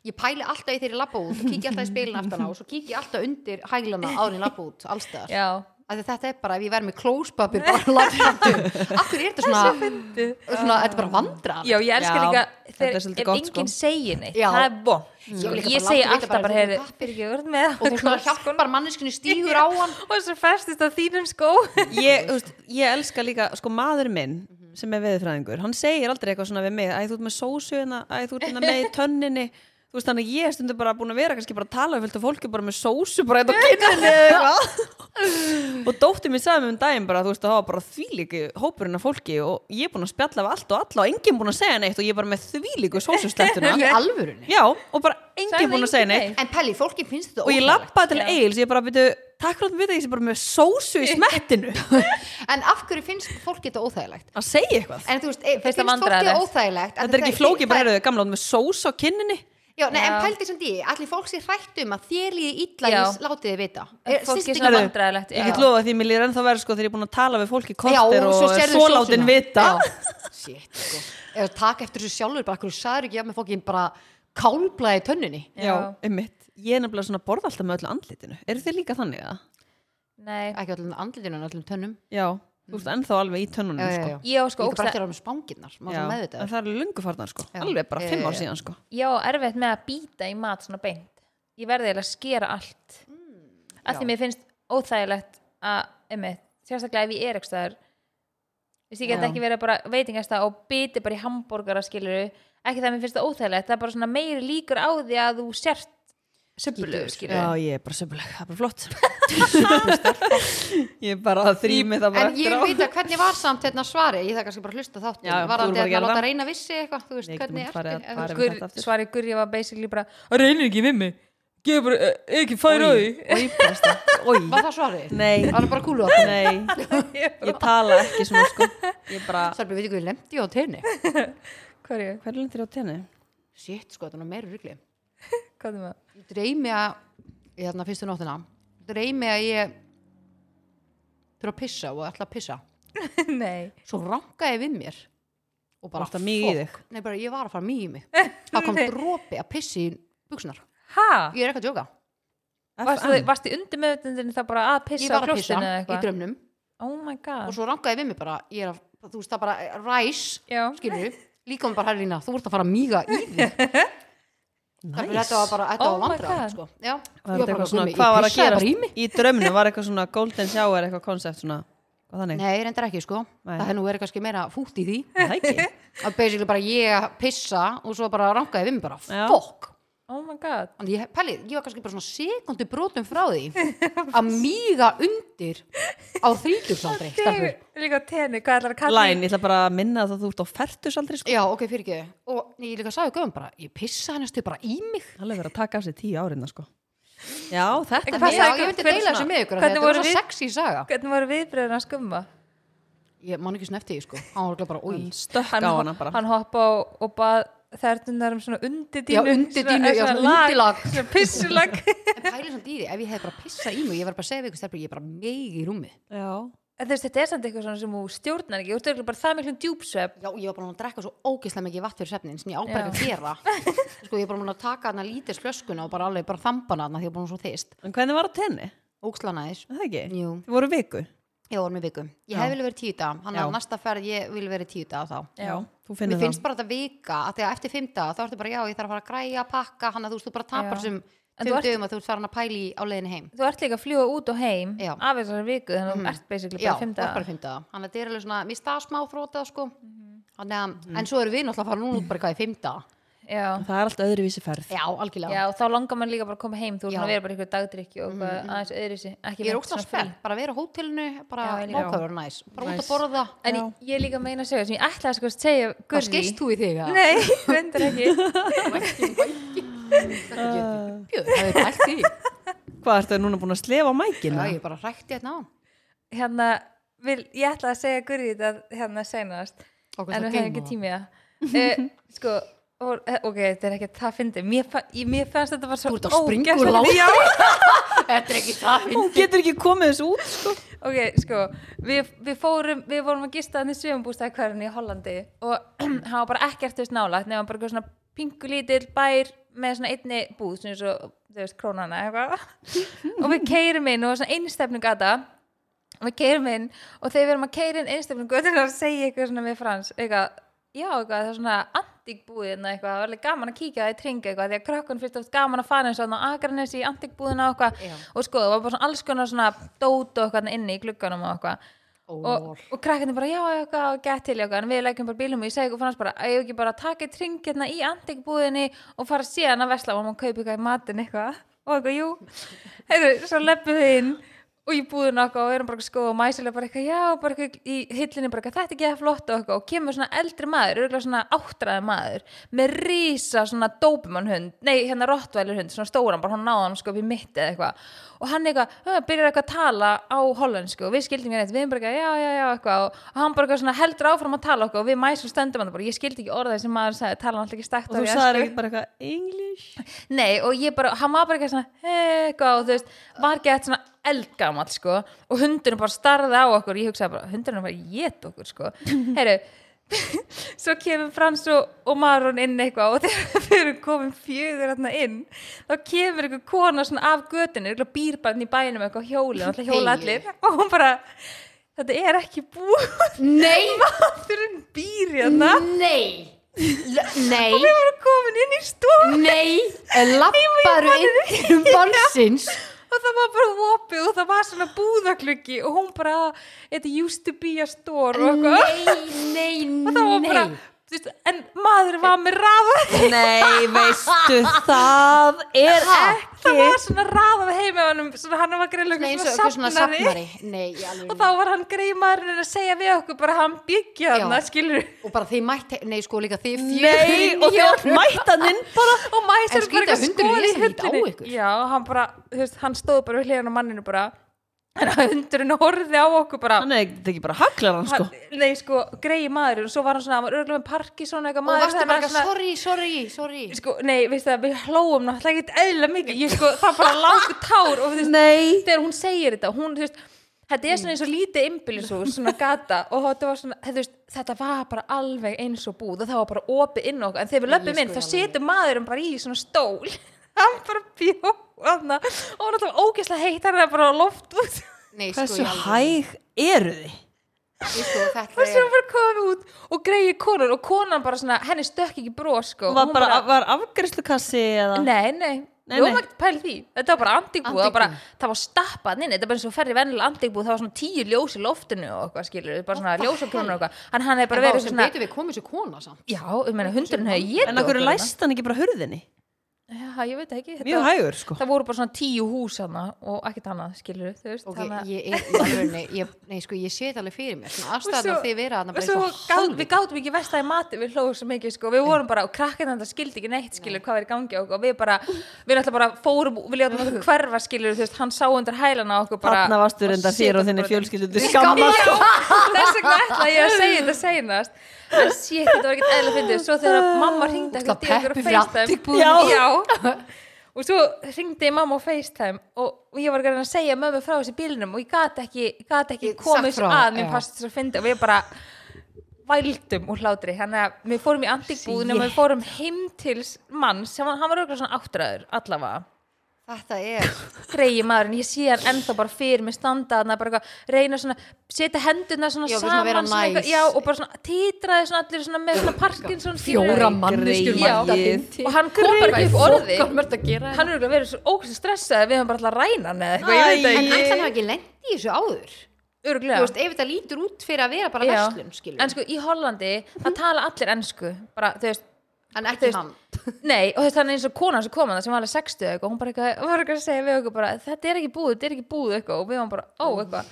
Speaker 3: Ég pæli alltaf í þeirri labba út og kíkja alltaf í spilin aftan á og svo kíkja alltaf undir hæglana árin labba út allstaðar
Speaker 1: já,
Speaker 3: Af því Þetta er bara, ef ég verð með klóspapir bara labbandi Akkur er þetta svona,
Speaker 1: fyndið
Speaker 3: svona þetta er bara vandra
Speaker 1: já, ég elska
Speaker 2: Já,
Speaker 1: líka
Speaker 2: þetta
Speaker 1: þegar
Speaker 2: er svolítið
Speaker 1: ef
Speaker 2: gott, sko.
Speaker 1: enginn segir neitt,
Speaker 3: Já.
Speaker 1: það er
Speaker 3: Já, líka
Speaker 1: bom
Speaker 3: bara
Speaker 1: ég segi
Speaker 3: láttu vita
Speaker 1: alltaf
Speaker 3: bara,
Speaker 1: bara
Speaker 3: þú
Speaker 1: heyrðu,
Speaker 3: tappir
Speaker 1: fyrir ekki að verð með
Speaker 3: og þú svona hjálpar manneskinu stígur á hann
Speaker 1: og svo festist á þínum skó
Speaker 2: ég, þú veist, ég elska líka, sko maður minn
Speaker 1: Mhm.
Speaker 2: sem er veðurfræðingur, hann segir aldrei eitthvað svona við mig, æ þú ert með sósuðina æ þú ert hérna með í tönninni þú veist þannig að ég er stundum bara búin að vera kannski bara að tala um fylgta fólki bara með sósu bara eitthvað kynninni eða eitthvað og dóttir mér sagði mér um daginn bara þú veist að hafa bara þvílíku hópurinn af fólki og ég er búin að spjalla af allt og alla og enginn búin að segja neitt og ég er bara með þvílíku sósuslettuna
Speaker 3: í alvörunni
Speaker 2: já og bara enginn
Speaker 1: Sagði
Speaker 2: búin að segja
Speaker 1: enginn
Speaker 2: neitt
Speaker 1: neitt?
Speaker 3: en Pelli, fólki finnst þetta
Speaker 2: og ég
Speaker 3: óþægilegt.
Speaker 2: lappaði til Egil ég bara byrju, takk fyrir að við þetta ég sé bara með sósu í smettinu
Speaker 3: en af hverju finnst fólki þetta óþægilegt
Speaker 2: að segja eitthvað
Speaker 3: en þú veist, e,
Speaker 1: Finnst
Speaker 3: finnst
Speaker 1: það
Speaker 3: fólki
Speaker 1: vandræðalegt?
Speaker 3: þetta óþægilegt af
Speaker 2: Þetta er
Speaker 3: því
Speaker 2: ekki
Speaker 3: það-
Speaker 2: flókið, bara
Speaker 3: það-
Speaker 2: eru þau gamla áttu með sós á kinninni
Speaker 3: já, nei, en
Speaker 1: Já.
Speaker 3: pældi sem því, allir fólk sér hrætt um að þér líði illa
Speaker 1: Já.
Speaker 3: ég látið þið vita Er-
Speaker 1: Fólki
Speaker 3: snýst
Speaker 1: svona
Speaker 3: ekki-
Speaker 1: vandræðalegt. Vandræðalegt,
Speaker 2: Ég
Speaker 1: já.
Speaker 2: get lofa því, mér líður ennþá verið sko þegar ég er búin að tala við fólk í
Speaker 3: Já,
Speaker 2: kortir
Speaker 3: og
Speaker 2: og
Speaker 3: svo
Speaker 2: er
Speaker 3: sérðu
Speaker 2: svo látin
Speaker 3: sósuna.
Speaker 2: vita
Speaker 3: Já. shit, sko. eða takk eftir þessu sjálfur bara hverju sagður ekki að mér fókin bara kálblaði í tönninni
Speaker 1: Já.
Speaker 2: einmitt. Ég er nefnilega svona að borða alltaf með öllu andlitinu. Eru þið líka þannig að?
Speaker 1: Nei,
Speaker 3: ekki öllum andlitinu en öllum tönnum
Speaker 2: Já. Þú veist ennþá alveg í tönnunum,
Speaker 3: já, já, já.
Speaker 2: sko.
Speaker 1: ég á sko
Speaker 3: líka bara
Speaker 1: ókslega
Speaker 3: eftir að vera með spanginnar maður er
Speaker 2: En
Speaker 3: meðvitaður
Speaker 2: það eru lungu farnar, sko.
Speaker 3: Já.
Speaker 2: Alveg bara
Speaker 3: Já,
Speaker 2: fimm
Speaker 3: já,
Speaker 2: ár
Speaker 3: já.
Speaker 2: síðan, sko.
Speaker 1: ég á erfitt með að býta í mat svona beint ég verði eiginlega að skera allt mm, af
Speaker 3: já.
Speaker 1: því mér finnst óþægilegt að, einmitt, sérstaklega ef ég er ekki staðar veist ég get
Speaker 2: Já.
Speaker 1: ekki verið bara veitingasta og biti bara í hambúrgara skiluru ekki það að mér finnst það óþægilegt það er bara svona meiri líkur á því að þú sért söpulegu
Speaker 3: Skítugur.
Speaker 1: skiluru
Speaker 2: Já, ég er bara sömuleg. Það er bara flott. ég er bara að þrými það bara
Speaker 3: en ég
Speaker 2: eftir á.
Speaker 3: vil vita hvernig var samt hérna svari ég það kannski bara að hlusta á þáttinn
Speaker 2: Já, þú
Speaker 3: var
Speaker 2: voru
Speaker 3: hann
Speaker 2: bara að
Speaker 3: að
Speaker 2: gera
Speaker 3: láta
Speaker 2: það.
Speaker 3: reyna vissi eitthvað þú veist
Speaker 2: Nei, getum bara
Speaker 3: hvernig
Speaker 2: farið að-
Speaker 3: ertu
Speaker 2: farið-
Speaker 3: ef-
Speaker 1: Gur,
Speaker 2: þetta aftur.
Speaker 1: svari Gurri var basically bara að reynir ekki við mig gefur bara, eh, ekki færa á því
Speaker 2: Í besta. Í.
Speaker 3: var það svarið?
Speaker 2: Nei.
Speaker 3: var það bara kúlu okkur?
Speaker 2: Nei. Ég tala ekki svona, sko. Ég bara...
Speaker 3: Sörbi, veitir hvað ég lemdi ég á tenni?
Speaker 1: hverju,
Speaker 2: Hvernig lendir á tenni?
Speaker 3: Shit, sko, þetta er nú meira rugli
Speaker 1: hvað er maður?
Speaker 3: Ég dreymi að, ég þarna fyrstu nóttina dreymi að ég þurfa að pissa og ætla að pissa
Speaker 1: nei,
Speaker 3: svo ranka ég við mér og bara
Speaker 2: Varstu að míga í
Speaker 3: fuck. Nei, bara ég var að fara mýg í mig það kom
Speaker 1: Nei.
Speaker 3: dropi að pissi í buksnar
Speaker 1: ha?
Speaker 3: ég er ekki að djóka
Speaker 1: Varstu, varstu undir meðutundinu það bara að
Speaker 3: ég
Speaker 1: pissa á
Speaker 3: var að pissa
Speaker 1: klostinu eða
Speaker 3: í
Speaker 1: eitthvað?
Speaker 3: drömnum
Speaker 1: Oh my
Speaker 3: og
Speaker 1: god.
Speaker 3: svo ranka ég við mér bara ég er að, þú veist það bara ræs
Speaker 1: Já.
Speaker 3: skilju líka um bara herrlína þú ert að fara að mýga í þig Þannig að þetta var bara þetta
Speaker 1: Oh
Speaker 3: var
Speaker 1: my
Speaker 3: vandræðalegt,
Speaker 1: God.
Speaker 3: sko. Já. Ég
Speaker 2: Var
Speaker 3: var
Speaker 2: þetta
Speaker 3: bara,
Speaker 2: eitthvað svona,
Speaker 3: Gummi,
Speaker 2: hvað var að
Speaker 3: ég pissaði
Speaker 2: gera
Speaker 3: bara í mig
Speaker 2: í drömnu? Var eitthvað svona golden shower, eitthvað koncept svona? Hvað þannig?
Speaker 3: Nei, reyndar ekki sko
Speaker 2: Nei.
Speaker 3: Það er nú verið kannski meira fútt í því
Speaker 2: Það ekki.
Speaker 3: að basically bara ég að pissa og svo bara rankaði við mig bara
Speaker 2: Já.
Speaker 3: fokk
Speaker 1: Oh my god.
Speaker 3: Þannig ég, pælið, ég var kannski bara svona sekundu brotum frá því að míga undir á þrítugsaldri stelpur.
Speaker 1: Líka tenni, hvað ætlar að kalla
Speaker 2: Læn, ég ætla bara að minna það að þú ert á fertusaldri sko.
Speaker 3: Já, ok, fyrir ekki Og ég líka sagði göfum bara, ég pissa hann stuð bara í mig
Speaker 2: Það er verið að taka af sér tíu árinna sko. Já, þetta
Speaker 1: hvað
Speaker 3: Já,
Speaker 1: sagði
Speaker 3: ég
Speaker 1: Guð-
Speaker 3: myndi
Speaker 1: hver er
Speaker 3: deila
Speaker 1: svona-
Speaker 3: þessu með ykkur af því að
Speaker 1: hvernig
Speaker 3: Þetta var
Speaker 1: voru
Speaker 3: svo
Speaker 1: við-
Speaker 3: sexy saga
Speaker 1: Hvernig voru viðbröðin að skumma?
Speaker 3: Ég man ekki svona eftir því, sko Hann var örugglega bara, oi
Speaker 2: stökk á hana bara.
Speaker 1: Hann hoppa á og bað þertunar um svona undir
Speaker 3: Já,
Speaker 1: dínu.
Speaker 3: undir dínu, já, svona undirlag
Speaker 1: Svona pissulag.
Speaker 3: En pælið samt í því, ef ég hef bara pissað í mig Ég var bara að segja við ykkur stelpur, ég er bara meigi í rúmi
Speaker 2: Já.
Speaker 1: En þú veist, þetta er samt eitthvað svona sem þú stjórnar ekki. Þú ert örugglega bara það miklum djúpsvefn.
Speaker 3: Já, ég var bara búin að drekka svo ógeðslega mikið vatn fyrir svefnin sem ég ábæði
Speaker 1: Já.
Speaker 3: að gera Sko, ég var bara búin að taka hana lítið slöskuna og bara alveg bara þambana hana því ég var búin svo þyst
Speaker 2: En hvernig var á tenni?
Speaker 3: Ógslanaðis,
Speaker 2: Er Það ekki?
Speaker 3: Jú.
Speaker 2: Þið voru viku.
Speaker 3: ég var með viku Ég
Speaker 2: Já.
Speaker 3: hef vilja verið tíu dag, hann
Speaker 2: Já.
Speaker 3: að næsta ferð ég vil verið tíu dag þá
Speaker 1: Já.
Speaker 2: Þú
Speaker 3: Mér
Speaker 2: finnir
Speaker 3: finnst
Speaker 2: það.
Speaker 3: bara þetta vika, að því að eftir fimm dag þá ertu bara, já, ég þarf að fara að græja, pakka hann að þú veist, þú bara tapar
Speaker 1: Já.
Speaker 3: sem
Speaker 1: En
Speaker 3: tveim
Speaker 1: þú ert-
Speaker 3: dögum að þú ert farin að pæli á leiðinni heim
Speaker 1: Þú ert líka að fljúa út og heim
Speaker 3: Já. Mhm.
Speaker 1: af þessari viku, þannig að þú ert basically
Speaker 3: Já,
Speaker 1: bara fimm
Speaker 3: þú ert
Speaker 1: daga. Mhm.
Speaker 3: bara fimm daga Þannig að þetta er alveg svona, mér stað smá þrótað sko. Þannig að, en svo erum við náttúrulega að fara núna út bara hvað í fimm daga
Speaker 1: Já.
Speaker 2: Það er alltaf öðruvísi ferð.
Speaker 3: Já, algjörlega
Speaker 1: Já, og þá langar mann líka bara að koma heim þú er
Speaker 3: Já. Mhm,
Speaker 1: svona að vera bara ykkur dagdrykki og eitthvað aðeins öðruvísi ekki
Speaker 3: ég er
Speaker 1: beint
Speaker 3: óslega
Speaker 1: svona frí.
Speaker 3: spennt, bara að vera á hótelinu bara
Speaker 1: Já, ég líka.
Speaker 3: mákaður næs, bara út
Speaker 2: Næs.
Speaker 3: að borða
Speaker 1: En ég, ég líka meina að segja sem ég ætlaði sko að segja
Speaker 3: hvað
Speaker 1: Gurri
Speaker 3: skist þú í þig að
Speaker 1: Nei, vendur ekki
Speaker 3: Björn, það er pælt í já,
Speaker 2: Hvað ertu núna búin að slefa á mækinu?
Speaker 3: ég bara rækti hérna á
Speaker 1: Hérna, vil, ég ætlaði að segja Gurri þetta hérna senast
Speaker 3: Ok,
Speaker 1: en
Speaker 3: það
Speaker 1: við hefum
Speaker 3: geyma
Speaker 1: ekki
Speaker 3: það.
Speaker 1: tími að uh, Sko, og, eh, ok, þetta er ekki það fyndi mér, fa ég- mér fannst þetta bara svo
Speaker 3: Þú ert að springa úr
Speaker 1: ógeðslega-
Speaker 3: látri.
Speaker 1: Já,
Speaker 3: þetta er ekki það
Speaker 2: Hún getur ekki komið þessu út sko.
Speaker 1: Ok, sko, við, við fórum, við vorum að gista þannig sögumbústæði hverjum í Hollandi og hann var bara ekkert þess nálægt nefnum bara eitthvað svona pingulítill bær með svona einni búð, svona eins og, þú veist, krónana eitthvað og við keirum inn og svona einstefnu gata og við keirum inn og þegar við erum að keira inn einstefnu gata þá segja eitthvað svona við frans, eitthvað, já, eitthvað, það er svona antíkbúðina eitthvað, það var alveg gaman að kíkja það í tring eitthvað, því að krakkun fyrst oft gaman að fara eins og þannig á Akranesi í antíkbúðina og eitthvað
Speaker 3: Já.
Speaker 1: og sko, það var bara svona alls konar svona dót og eitthvað inni í glugganum og eitthvað og,
Speaker 3: og
Speaker 1: og krakkarnir bara, já, já, já, gett til já, en við leggjum bara bílum og ég segi ykkur fannst bara að ég ekki bara taka eitt hring hérna í antikbúðinni og fara síðan að vesla og maður kaupi eitthvað í matinn eitthvað og eitthvað, jú, heyrðu, svo leppum við inn og í búðinu okkar og erum bara sko og mæsilega bara eitthvað, já, bara eitthvað í hillinni bara eitthvað, þetta er ekki það flott og eitthvað og kemur svona eldri maður, örgulega svona áttræði maður með rísa svona dópumann hund, nei, hérna rottvælir hund, svona stóran, bara hann náði hann sko upp í mitt eða eitthvað og hann eitthvað, uh, byrjar eitthvað að tala á hollensku og við skildum ekki neitt, við erum bara eitthvað, já, já, já, eitthvað og, og hann bara eitthvað svona heldur áfram að tala okkur og við mæsum stöndum hann bara, ég skildi ekki orðið sem maður sagði, tala hann alltaf ekki stækt
Speaker 2: Og þú sagðir ekki bara eitthvað English.
Speaker 1: Nei, og ég bara, hann var bara eitthvað svona "Hey, eitthvað og þú veist, var gett svona eldgamall, sko, og hundurinn bara starði á okkur, ég hugsaði bara, hundurinn var að geta okkur, sko, heyrðu svo kemur Frans og, og Maron inn eitthvað og þegar þau eru komin fjögur þarna inn þá kemur einhver kona svona af götinu eitthvað býrbarn í bænum eitthvað á hjóli og alltaf hjóla
Speaker 3: Heyi.
Speaker 1: allir og hún bara þetta er ekki búið
Speaker 3: Nei,
Speaker 1: maðurinn býr hérna
Speaker 3: nei L- Nei,
Speaker 1: við vorum komin inn í stofu
Speaker 3: nei Lapparu inn um balsins
Speaker 1: og það var bara opið og það var svona búðakluggi og hún bara it used to be a store og eitthvað
Speaker 3: Nei, nei,
Speaker 1: og það var bara
Speaker 3: nei
Speaker 1: þú veist, en maður var með rafað
Speaker 2: Nei, veistu, það er
Speaker 3: Ha?
Speaker 1: það var svona rafað heima honum svona hann var
Speaker 3: Svona
Speaker 1: greiðlega
Speaker 3: eins og
Speaker 1: svona,
Speaker 3: eitthvað
Speaker 1: svona
Speaker 3: svona safnari Nei, í alvöru.
Speaker 1: og þá var hann greiðmaðurinn að segja við okkur bara hann byggja hann,
Speaker 3: Já.
Speaker 1: skilur
Speaker 3: og bara þið mætti, nei sko líka þið
Speaker 2: Nei, og þjótt mættaninn bara
Speaker 1: og mæsir
Speaker 3: En skrýtið
Speaker 1: bara
Speaker 3: að hundurinn
Speaker 1: skoði í
Speaker 3: lýsir ekkert á ykkur.
Speaker 1: hundinni já, hann bara, þú veist, hann stóð bara við hliðan á manninu bara en hundurinn horfði á okkur bara
Speaker 2: Hann er þetta ekki bara haglar hann sko
Speaker 1: hann, nei, sko, greiði maður og svo var hann svona, hann var örgulega með Parkinson eitthvað
Speaker 3: og
Speaker 1: maður
Speaker 3: varstu
Speaker 1: það var
Speaker 3: bara eitthvað, sorry, sorry, sorry
Speaker 1: sko, nei, veistu það, við hlóum náttúrulega ekkert eðla mikið, ég sko, það bara langu tár og þú veist,
Speaker 2: Nei
Speaker 1: þegar hún segir þetta hún, þú veist, þetta er svona
Speaker 3: Mm.
Speaker 1: eins og lítið innbyllisús, svona gata og þetta var svona, þetta, þú veist, þetta var bara alveg eins og búð og það var bara opið inn okkur en þegar við löpum
Speaker 3: ég
Speaker 1: inn,
Speaker 3: sko
Speaker 1: þá
Speaker 3: í
Speaker 1: setur maðurinn bara í svona stól hann bara bjó þarna, og hann alltaf ógeðslega heitt hann er bara á loft út
Speaker 3: nei, sko,
Speaker 2: Hversu
Speaker 3: í alvöru.
Speaker 2: hæg eru þið?
Speaker 3: Ég sko, þetta
Speaker 1: og svo
Speaker 3: er
Speaker 1: bara komum við út og greiði konur og konan bara svona, henni stökk ekki brós sko,
Speaker 2: Var
Speaker 1: hún
Speaker 2: bara, var afgriðslukassi eða
Speaker 1: Nei, nei,
Speaker 2: Nei,
Speaker 1: við vorum
Speaker 2: nei.
Speaker 1: ekkert pæli því Þetta var bara andingbúð, það var bara,
Speaker 3: Antíkbúð.
Speaker 1: það var stappað inn Þetta er bara eins og ferði vennilega andingbúð Það var svona tíu ljós í loftinu og eitthvað skilur Bara svona
Speaker 3: What the
Speaker 1: ljósakrónur og
Speaker 3: hell?
Speaker 1: eitthvað En hann hefði
Speaker 3: bara
Speaker 1: bara verið
Speaker 3: verið
Speaker 1: svona
Speaker 3: betur við komum sér kona samt
Speaker 1: Já, ég meina hundurinn hefði ég
Speaker 2: En okkur læst hann ekki bara hurðinni
Speaker 1: Já, ég veit ekki þetta,
Speaker 2: Mjög hægur sko
Speaker 1: Það voru bara svona tíu hús hana Og ekkert annað skilur þú veist,
Speaker 3: ok,
Speaker 1: þannig að-
Speaker 3: ég er í alvörunni, ég, nei sko, ég sé þetta alveg fyrir mér svona
Speaker 1: Og
Speaker 3: afstæðan
Speaker 1: svo-
Speaker 3: að þið vera þarna
Speaker 1: og
Speaker 3: bara
Speaker 1: svo
Speaker 3: eins og
Speaker 1: gát, við gátum ekki vestaði mati við hlóðum svo mikið sko, við vorum bara og krakkinn þetta skildi ekki neitt skilur hvað er í gangi og við bara, við náttúrulega bara fórum við ljóðum okkur hverfa skilur, þú veist, hann sá undir hælana á okkur bara
Speaker 2: Þarna varstu
Speaker 1: og
Speaker 2: reynda
Speaker 1: situr
Speaker 2: þér og þinni
Speaker 1: bara-
Speaker 2: fjölskyldu til
Speaker 1: Já,
Speaker 2: skamma sko
Speaker 1: þess vegna ætla ég að segja þetta seinast en shit, þetta var ekkert eðla fyndið svo þegar mamma ringdi
Speaker 3: Ógeðslega peppi fyrir antíkbúðum.
Speaker 1: já.
Speaker 2: Já.
Speaker 1: já og svo ringdi mamma á FaceTime og ég var að reyna að segja mömmu frá þessi bílnum og ég gat ekki, gat ekki
Speaker 3: Ég
Speaker 1: komið
Speaker 3: sagt
Speaker 1: svo
Speaker 3: frá,
Speaker 1: að mér
Speaker 3: já.
Speaker 1: fast svo fyndið og við bara vældum úr hlátri þannig að við fórum í antikbúðin og
Speaker 2: Shit.
Speaker 1: við fórum heim til mann sem var, hann var auðvitað svona áttræður allavega
Speaker 3: þetta er
Speaker 1: greið maðurinn, ég sé hann ennþá bara fyrir mig standa hann bara eitthvað reyna svona setja hendurna svona
Speaker 3: Já, bara svona vera
Speaker 1: saman svona
Speaker 3: næs.
Speaker 1: eitthvað, já, og bara svona titraði svona allir svona með svona Parkinson
Speaker 3: fjóra
Speaker 1: skilurðu.
Speaker 3: manneskjur
Speaker 1: Já.
Speaker 3: mæta
Speaker 2: Greyið.
Speaker 3: þinn til.
Speaker 1: og hann kom bara ekki upp orði
Speaker 3: Hvað er þetta að gera
Speaker 1: hann er örugglega verið svo ógst stressað við höfum bara alltaf að ræna hann eða eitthvað, ég
Speaker 2: Æ.
Speaker 1: veit
Speaker 3: en
Speaker 1: það
Speaker 3: ætlan hafa ekki lendi í þessu áður
Speaker 1: ekki
Speaker 3: þú veist,
Speaker 1: öruglega
Speaker 3: ef þetta lítur út fyrir að vera bara verslun Mhm. skilur,
Speaker 1: en sko í Hollandi, það tala allir ennsku bara, þú veist,
Speaker 3: en
Speaker 1: þú
Speaker 3: ekki
Speaker 1: veist-
Speaker 3: hann
Speaker 1: Nei, og þetta er eins og konan sem kom að það sem var alveg 60 eða eitthvað, hún bara eitthvað, hún var eitthvað að segja við okkur bara, þetta er ekki búið, þetta er ekki búið eitthvað og við varum bara, ó, eitthvað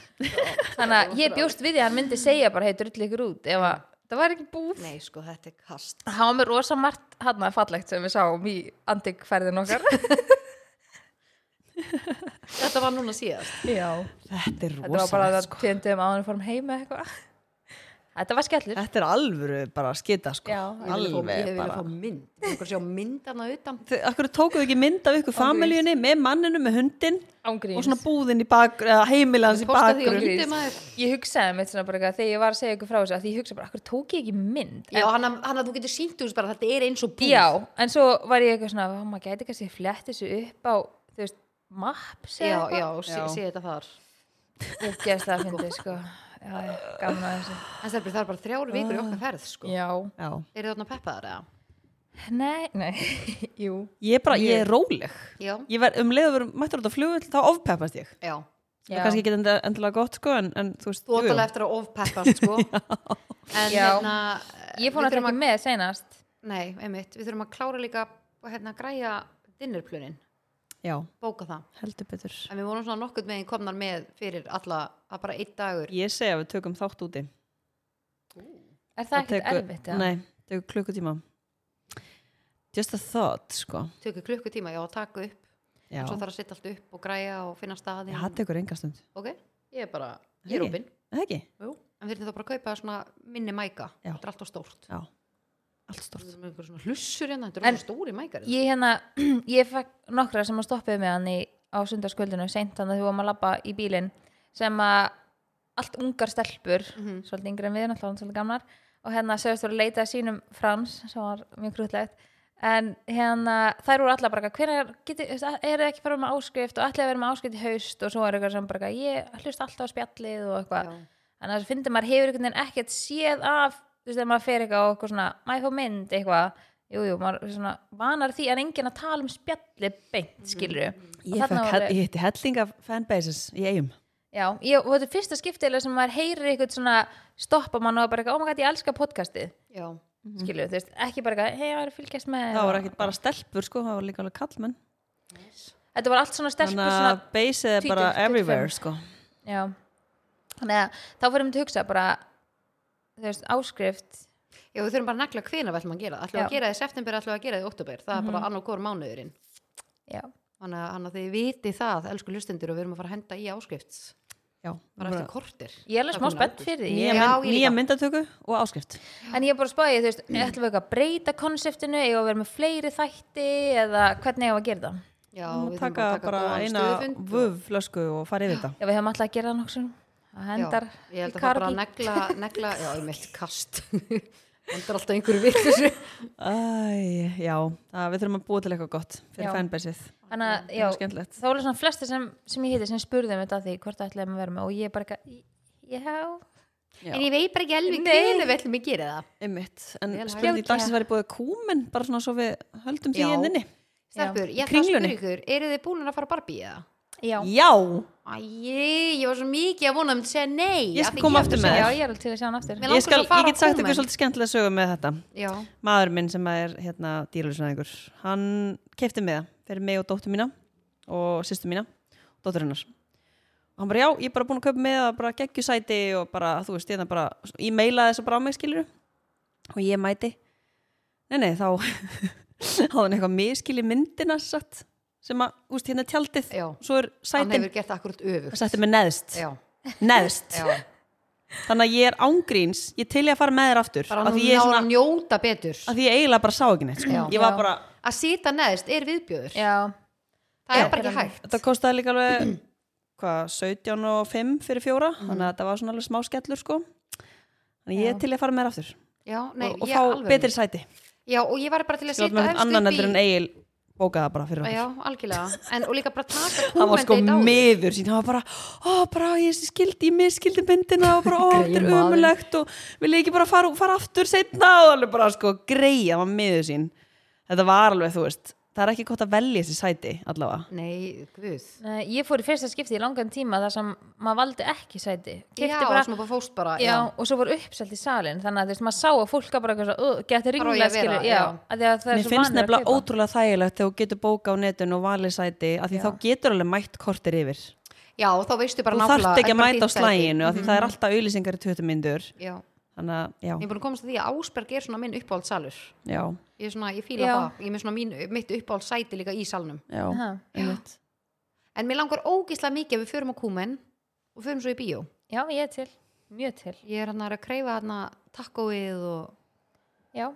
Speaker 1: þannig að ég bjóst við því að hann myndi segja bara, hei, drull ykkur út, ef að það var ekki búið
Speaker 3: nei sko, þetta er kast
Speaker 1: Það var með rosa margt hann að fallegt sem við sáum í andikferðin okkar
Speaker 3: þetta var núna síðast
Speaker 1: Já,
Speaker 2: Þetta er
Speaker 1: þetta var bara
Speaker 2: rosa
Speaker 1: það tjöndum áður fórum heim eða eitthvað sko. Þetta var skellur
Speaker 2: Þetta er alvöru bara að skita sko
Speaker 1: Já,
Speaker 3: Ég vil fá- ég
Speaker 2: Alveg
Speaker 3: vil
Speaker 2: bara
Speaker 3: fá mynd, ég vil okkur sjá myndana utan
Speaker 2: Þau- Akkur tókuðu ekki mynd af ykkur familíunni með manninu, með hundin og
Speaker 1: ángríns
Speaker 2: svona búðin í bak, eða heimilans í
Speaker 3: posta því og
Speaker 2: bakgrunn
Speaker 3: lítið maður
Speaker 1: Ég hugsaði mitt svona bara eitthvað þegar ég var að segja ykkur frá þessu að því ég hugsaði bara, akkur tók ég ekki mynd
Speaker 3: Já, hann að- hann að þú getur sínt úr bara, þetta er eins og búð
Speaker 1: Já, en svo var ég eitthvað svona, "Vá, maður gæti kannski flett þessu upp á, þú veist, maps
Speaker 3: já, já, sé,
Speaker 2: Já.
Speaker 3: sé þetta þar
Speaker 1: Ég gerst það að fyndi, sko. Já, já, gaman að þessu.
Speaker 3: en það er bara, það er bara þrjár vikur í okkar ferð sko.
Speaker 1: Já.
Speaker 2: Já.
Speaker 3: er þarna peppaðar eða?
Speaker 1: Nei, nei, jú.
Speaker 2: Ég er bara, ég er róleg
Speaker 3: já,
Speaker 2: Ég verð um leiður mættur út á flugvill þá ofpeppast ég
Speaker 3: já
Speaker 2: Það er kannski ekki enda- endilega gott sko en, en þú veist
Speaker 3: þú óttalega eftir að ofpeppast sko. en
Speaker 1: Já.
Speaker 3: hérna
Speaker 1: Ég fór
Speaker 3: við
Speaker 1: náttúrulega
Speaker 3: þurfum
Speaker 1: ekki með senast.
Speaker 3: Nei, einmitt, við þurfum að klára líka og hérna græja dinnerplunin
Speaker 2: Já,
Speaker 3: bóka það,
Speaker 2: heldur betur
Speaker 3: en við vorum svona nokkurn veginn komnar með fyrir alla að bara einn dagur
Speaker 2: Ég segja við tökum þátt úti
Speaker 1: Er það ekkert
Speaker 2: tekur-
Speaker 1: erfitt, já?
Speaker 2: Nei, tekur klukkutíma Just a thought sko
Speaker 3: tökur klukkutíma, já, að taka upp
Speaker 2: Já,
Speaker 3: svo þarf að setja allt upp og græja og finna staði
Speaker 2: Já, það tekur engastund
Speaker 3: ok, ég er bara, ég er
Speaker 2: Ekki?
Speaker 3: opinn
Speaker 2: Það ekki?
Speaker 3: Jú. en við erum þá bara að kaupa svona minni mæka
Speaker 2: Já.
Speaker 3: þetta er alltaf stórt
Speaker 2: Já, allt
Speaker 3: Við
Speaker 2: stort
Speaker 3: erum með einhver svona hlussur hérna, þetta er
Speaker 1: En-
Speaker 3: alltaf stóri mækar
Speaker 1: Ég hérna, ég fekk nokkra sem að stoppaði með hann í, á sundarskvöldinu, seint þannig að þú varum að labba í bílinn, sem að allt ungar stelpur,
Speaker 3: Mhm.
Speaker 1: svolítið yngri en við, náttúrulega svolítið gamlar, og og hérna sögust voru að leita að sínum frans sem var mjög grútlegt en hérna þær voru allar bara hvernig er þið ekki fara með áskrift og allir að vera með áskrift í haust og svo er eitthvað sem bara ég hlust alltaf á spjallið og eitthvað
Speaker 3: Já.
Speaker 1: þannig að þess að fyndi maður hefur einhvern veginn ekkert séð af þú veist þegar maður fer eitthvað og eitthvað svona maður fá mynd eitthvað jújú, jú, maður er svona vanar því en enginn að tala um spjalli
Speaker 2: Mhm,
Speaker 1: beint skilur
Speaker 2: Ég, fekk, hell- ég hitti helling af fanbases í eigum
Speaker 1: Já, ég, og þetta er fyrsta skiptilega sem maður heyrir eitthvað svona stoppa mann og bara eitthvað, oh my god, ég elska podcastið,
Speaker 3: Já.
Speaker 1: mm. skilju, þú veist, ekki bara eitthvað, hei, ég var að fylgjast með.
Speaker 2: Mhm. Það voru ekkert bara stelpur sko, það voru líka alveg kallmenn
Speaker 1: Þetta var allt svona stelpur
Speaker 2: Þannig
Speaker 1: svona,
Speaker 2: að basið er bara
Speaker 1: 20-25.
Speaker 2: everywhere sko
Speaker 1: já. Þannig að þá fyrir við til að hugsa bara, þú veist, áskrift,
Speaker 3: Já, við þurfum bara að negla hvena við ætlum að gera. Ætlum við
Speaker 1: Já.
Speaker 3: að gera það í september, ætlum við að gera það í oktober. Það er bara annar hvort mánuðurinn.
Speaker 1: já,
Speaker 3: Þannig að- þannig að þið viti það, elsku lustendur, og við erum að fara að henda í áskrift.
Speaker 2: Já,
Speaker 3: Bara eftir
Speaker 2: bara
Speaker 3: kortir.
Speaker 1: ég er alveg
Speaker 3: Það
Speaker 1: smá
Speaker 3: komið
Speaker 1: spennt
Speaker 3: ágúst.
Speaker 1: fyrir því.
Speaker 2: nýja,
Speaker 1: Ég-
Speaker 3: Já,
Speaker 2: mynd,
Speaker 3: ég
Speaker 2: nýja
Speaker 3: líka.
Speaker 2: myndatöku og áskrift
Speaker 1: En ég er bara að spáði, þú veist,
Speaker 2: Mm.
Speaker 1: ætlum við eitthvað að breyta konseptinu, eigum við að vera með fleiri þætti eða hvernig eigum við að gera það?
Speaker 3: Já,
Speaker 2: og
Speaker 3: við þurfum
Speaker 2: taka
Speaker 3: bara að taka
Speaker 2: bara
Speaker 3: góðan
Speaker 2: eina
Speaker 3: stöðufund og-
Speaker 2: vöflösku og fara yfir þetta
Speaker 1: Já, við hefum alltaf að gera það nokkuð, það hendar
Speaker 3: já, ég held
Speaker 1: í
Speaker 3: að það bara
Speaker 1: kargi.
Speaker 3: að negla, negla já, ég meitt kast endar alltaf einhverju vitleysu
Speaker 2: Æ, já, það, við þurfum að búa til eitthvað gott fyrir
Speaker 1: Já.
Speaker 2: fanbaseið
Speaker 1: Þannig að,
Speaker 2: Það er
Speaker 1: já,
Speaker 2: Mm, skemmtilegt
Speaker 1: þá voru svona flesti sem, sem ég heiti sem spurði um þetta að því hvort það ætlaði að vera með og ég bara eitthvað, já
Speaker 2: Já.
Speaker 3: en ég veit bara ekki alveg hvernig við ætlum að gera það
Speaker 2: Einmitt, en
Speaker 3: Vel
Speaker 2: spurning
Speaker 1: hægt.
Speaker 2: dagsins væri búið kúmen bara svona svo við höldum því
Speaker 3: Já.
Speaker 2: inn inni
Speaker 3: Stelpur, ég ætla að
Speaker 2: Kringlunni.
Speaker 3: spyrja ykkur, eru þið búin að fara að Barbie eða?
Speaker 1: já,
Speaker 2: Já,
Speaker 3: Æi, ég var svo mikið að vona að myndi segja nei
Speaker 2: Ég
Speaker 3: af því
Speaker 2: kom
Speaker 3: ég-
Speaker 2: aftur með
Speaker 1: já
Speaker 2: þér.
Speaker 1: ég er alveg til að sjá hann aftur
Speaker 3: Mig
Speaker 2: ég,
Speaker 3: langar
Speaker 2: skal,
Speaker 3: svo að fara
Speaker 2: ég get
Speaker 3: á
Speaker 2: sagt ykkur
Speaker 3: Kúmen.
Speaker 2: svolítið skemmtilega sögum með þetta
Speaker 3: Já,
Speaker 2: maður minn sem er hérna dýrlöfsnæðingur hann kefti með það fyrir mig og dóttur mína og sýstu mína og dóttur hennar og hann bara já, ég er bara búin að kaupa með það bara geggjusæti og bara, þú veist, ég bara ég meilaði þessu bara á mig skilur og ég mæti nei, nei, þá hafði hann eitthvað miskili myndina satt sem að, þú veist, hérna er tjaldið
Speaker 3: Já.
Speaker 2: svo er
Speaker 3: hann
Speaker 2: sætin,
Speaker 3: hefur gert akkurat öfugt
Speaker 2: það sætti mig neðst
Speaker 3: Já,
Speaker 2: neðst,
Speaker 3: já
Speaker 2: þannig að ég er ángríns ég til ég að fara með þér aftur
Speaker 3: bara
Speaker 2: af
Speaker 3: hann
Speaker 2: því ég, er
Speaker 3: ná að
Speaker 2: svona,
Speaker 3: njóta betur
Speaker 2: af því ég eiginlega bara sá ekki neitt sko.
Speaker 3: Já.
Speaker 2: ég var
Speaker 1: Já.
Speaker 2: bara,
Speaker 3: að sita neðst er viðbjöður
Speaker 1: já,
Speaker 3: það
Speaker 1: Já.
Speaker 3: er bara ekki hægt
Speaker 2: Þetta kostaði líka alveg hvað, 17 og 5 fyrir fjóra
Speaker 3: Mhm.
Speaker 2: þannig að þetta var svona alveg smá skellur sko þannig ég
Speaker 1: Já.
Speaker 2: er til í að fara með þér aftur
Speaker 3: Já, nei,
Speaker 2: og, og
Speaker 3: ég
Speaker 2: fá
Speaker 3: alveg
Speaker 2: betri sæti
Speaker 3: Já, og ég var bara til að
Speaker 2: Slátt
Speaker 3: sita
Speaker 2: með
Speaker 3: efst
Speaker 2: annan
Speaker 3: upp
Speaker 2: heldur
Speaker 3: í
Speaker 2: en Egil bókaði það bara fyrir
Speaker 3: Já,
Speaker 2: okkur
Speaker 3: algjörlega, en og líka bara taka
Speaker 2: hann var
Speaker 3: kúmendið
Speaker 2: sko
Speaker 3: í dáið.
Speaker 2: miður sín, hann var bara ó, bara, ég skildi, ég miskildi myndina og bara, ó, þetta er
Speaker 3: Greyið maður.
Speaker 2: umulegt og vil ég ekki bara fara, fara aftur setna og alveg bara sko, greið, hann var miður sín þetta var alveg, þú veist það er ekki gott að velja þessi sæti allavega
Speaker 3: Nei, guð.
Speaker 1: Nei, eh, ég fór í fyrsta skipti í langan tíma þar sem maður valdi ekki sæti Keypti
Speaker 3: Já, bara, sem bara fóst bara.
Speaker 1: já, og svo voru uppselt í salin þannig að þú veist, maður sá að fólk var bara eitthvað svo, uh, geti
Speaker 3: Hvar á "Oh, ég
Speaker 1: ringlega
Speaker 3: að vera?"
Speaker 1: skilur
Speaker 3: Já.
Speaker 1: já, af því að það er
Speaker 2: Mér
Speaker 1: svo
Speaker 2: finnst
Speaker 1: vanur að
Speaker 2: nefnilega
Speaker 1: kaupa.
Speaker 2: ótrúlega þægilegt þegar þú getur bóka á netun og valið sæti af því þá getur alveg mætt kortir yfir
Speaker 3: Já, þá veistu bara
Speaker 2: Þú
Speaker 3: nákvæmlega.
Speaker 2: þarft ekki
Speaker 3: þetta
Speaker 2: að
Speaker 3: er bara
Speaker 2: mæta á
Speaker 3: þitt sæti. Mhm.
Speaker 2: slæginu af því það er alltaf auðlýsingar í 20 myndur
Speaker 3: Já,
Speaker 2: þannig að,
Speaker 3: ég
Speaker 2: já,
Speaker 3: er búin að komast að því að Ásberg er svona minn uppáhaldssalur.
Speaker 2: já,
Speaker 3: Ég er svona, ég fíla
Speaker 1: Já.
Speaker 3: það. Ég er með svona mín, mitt uppáhaldssæti líka í salnum.
Speaker 2: já
Speaker 1: Aha.
Speaker 2: einmitt.
Speaker 3: En mér langar ógislega mikið að við förum á kúmen og förum svo í bíó.
Speaker 1: já, ég er til, mjög til
Speaker 3: Ég er hann að kreifa hann að takkóið og...
Speaker 1: já,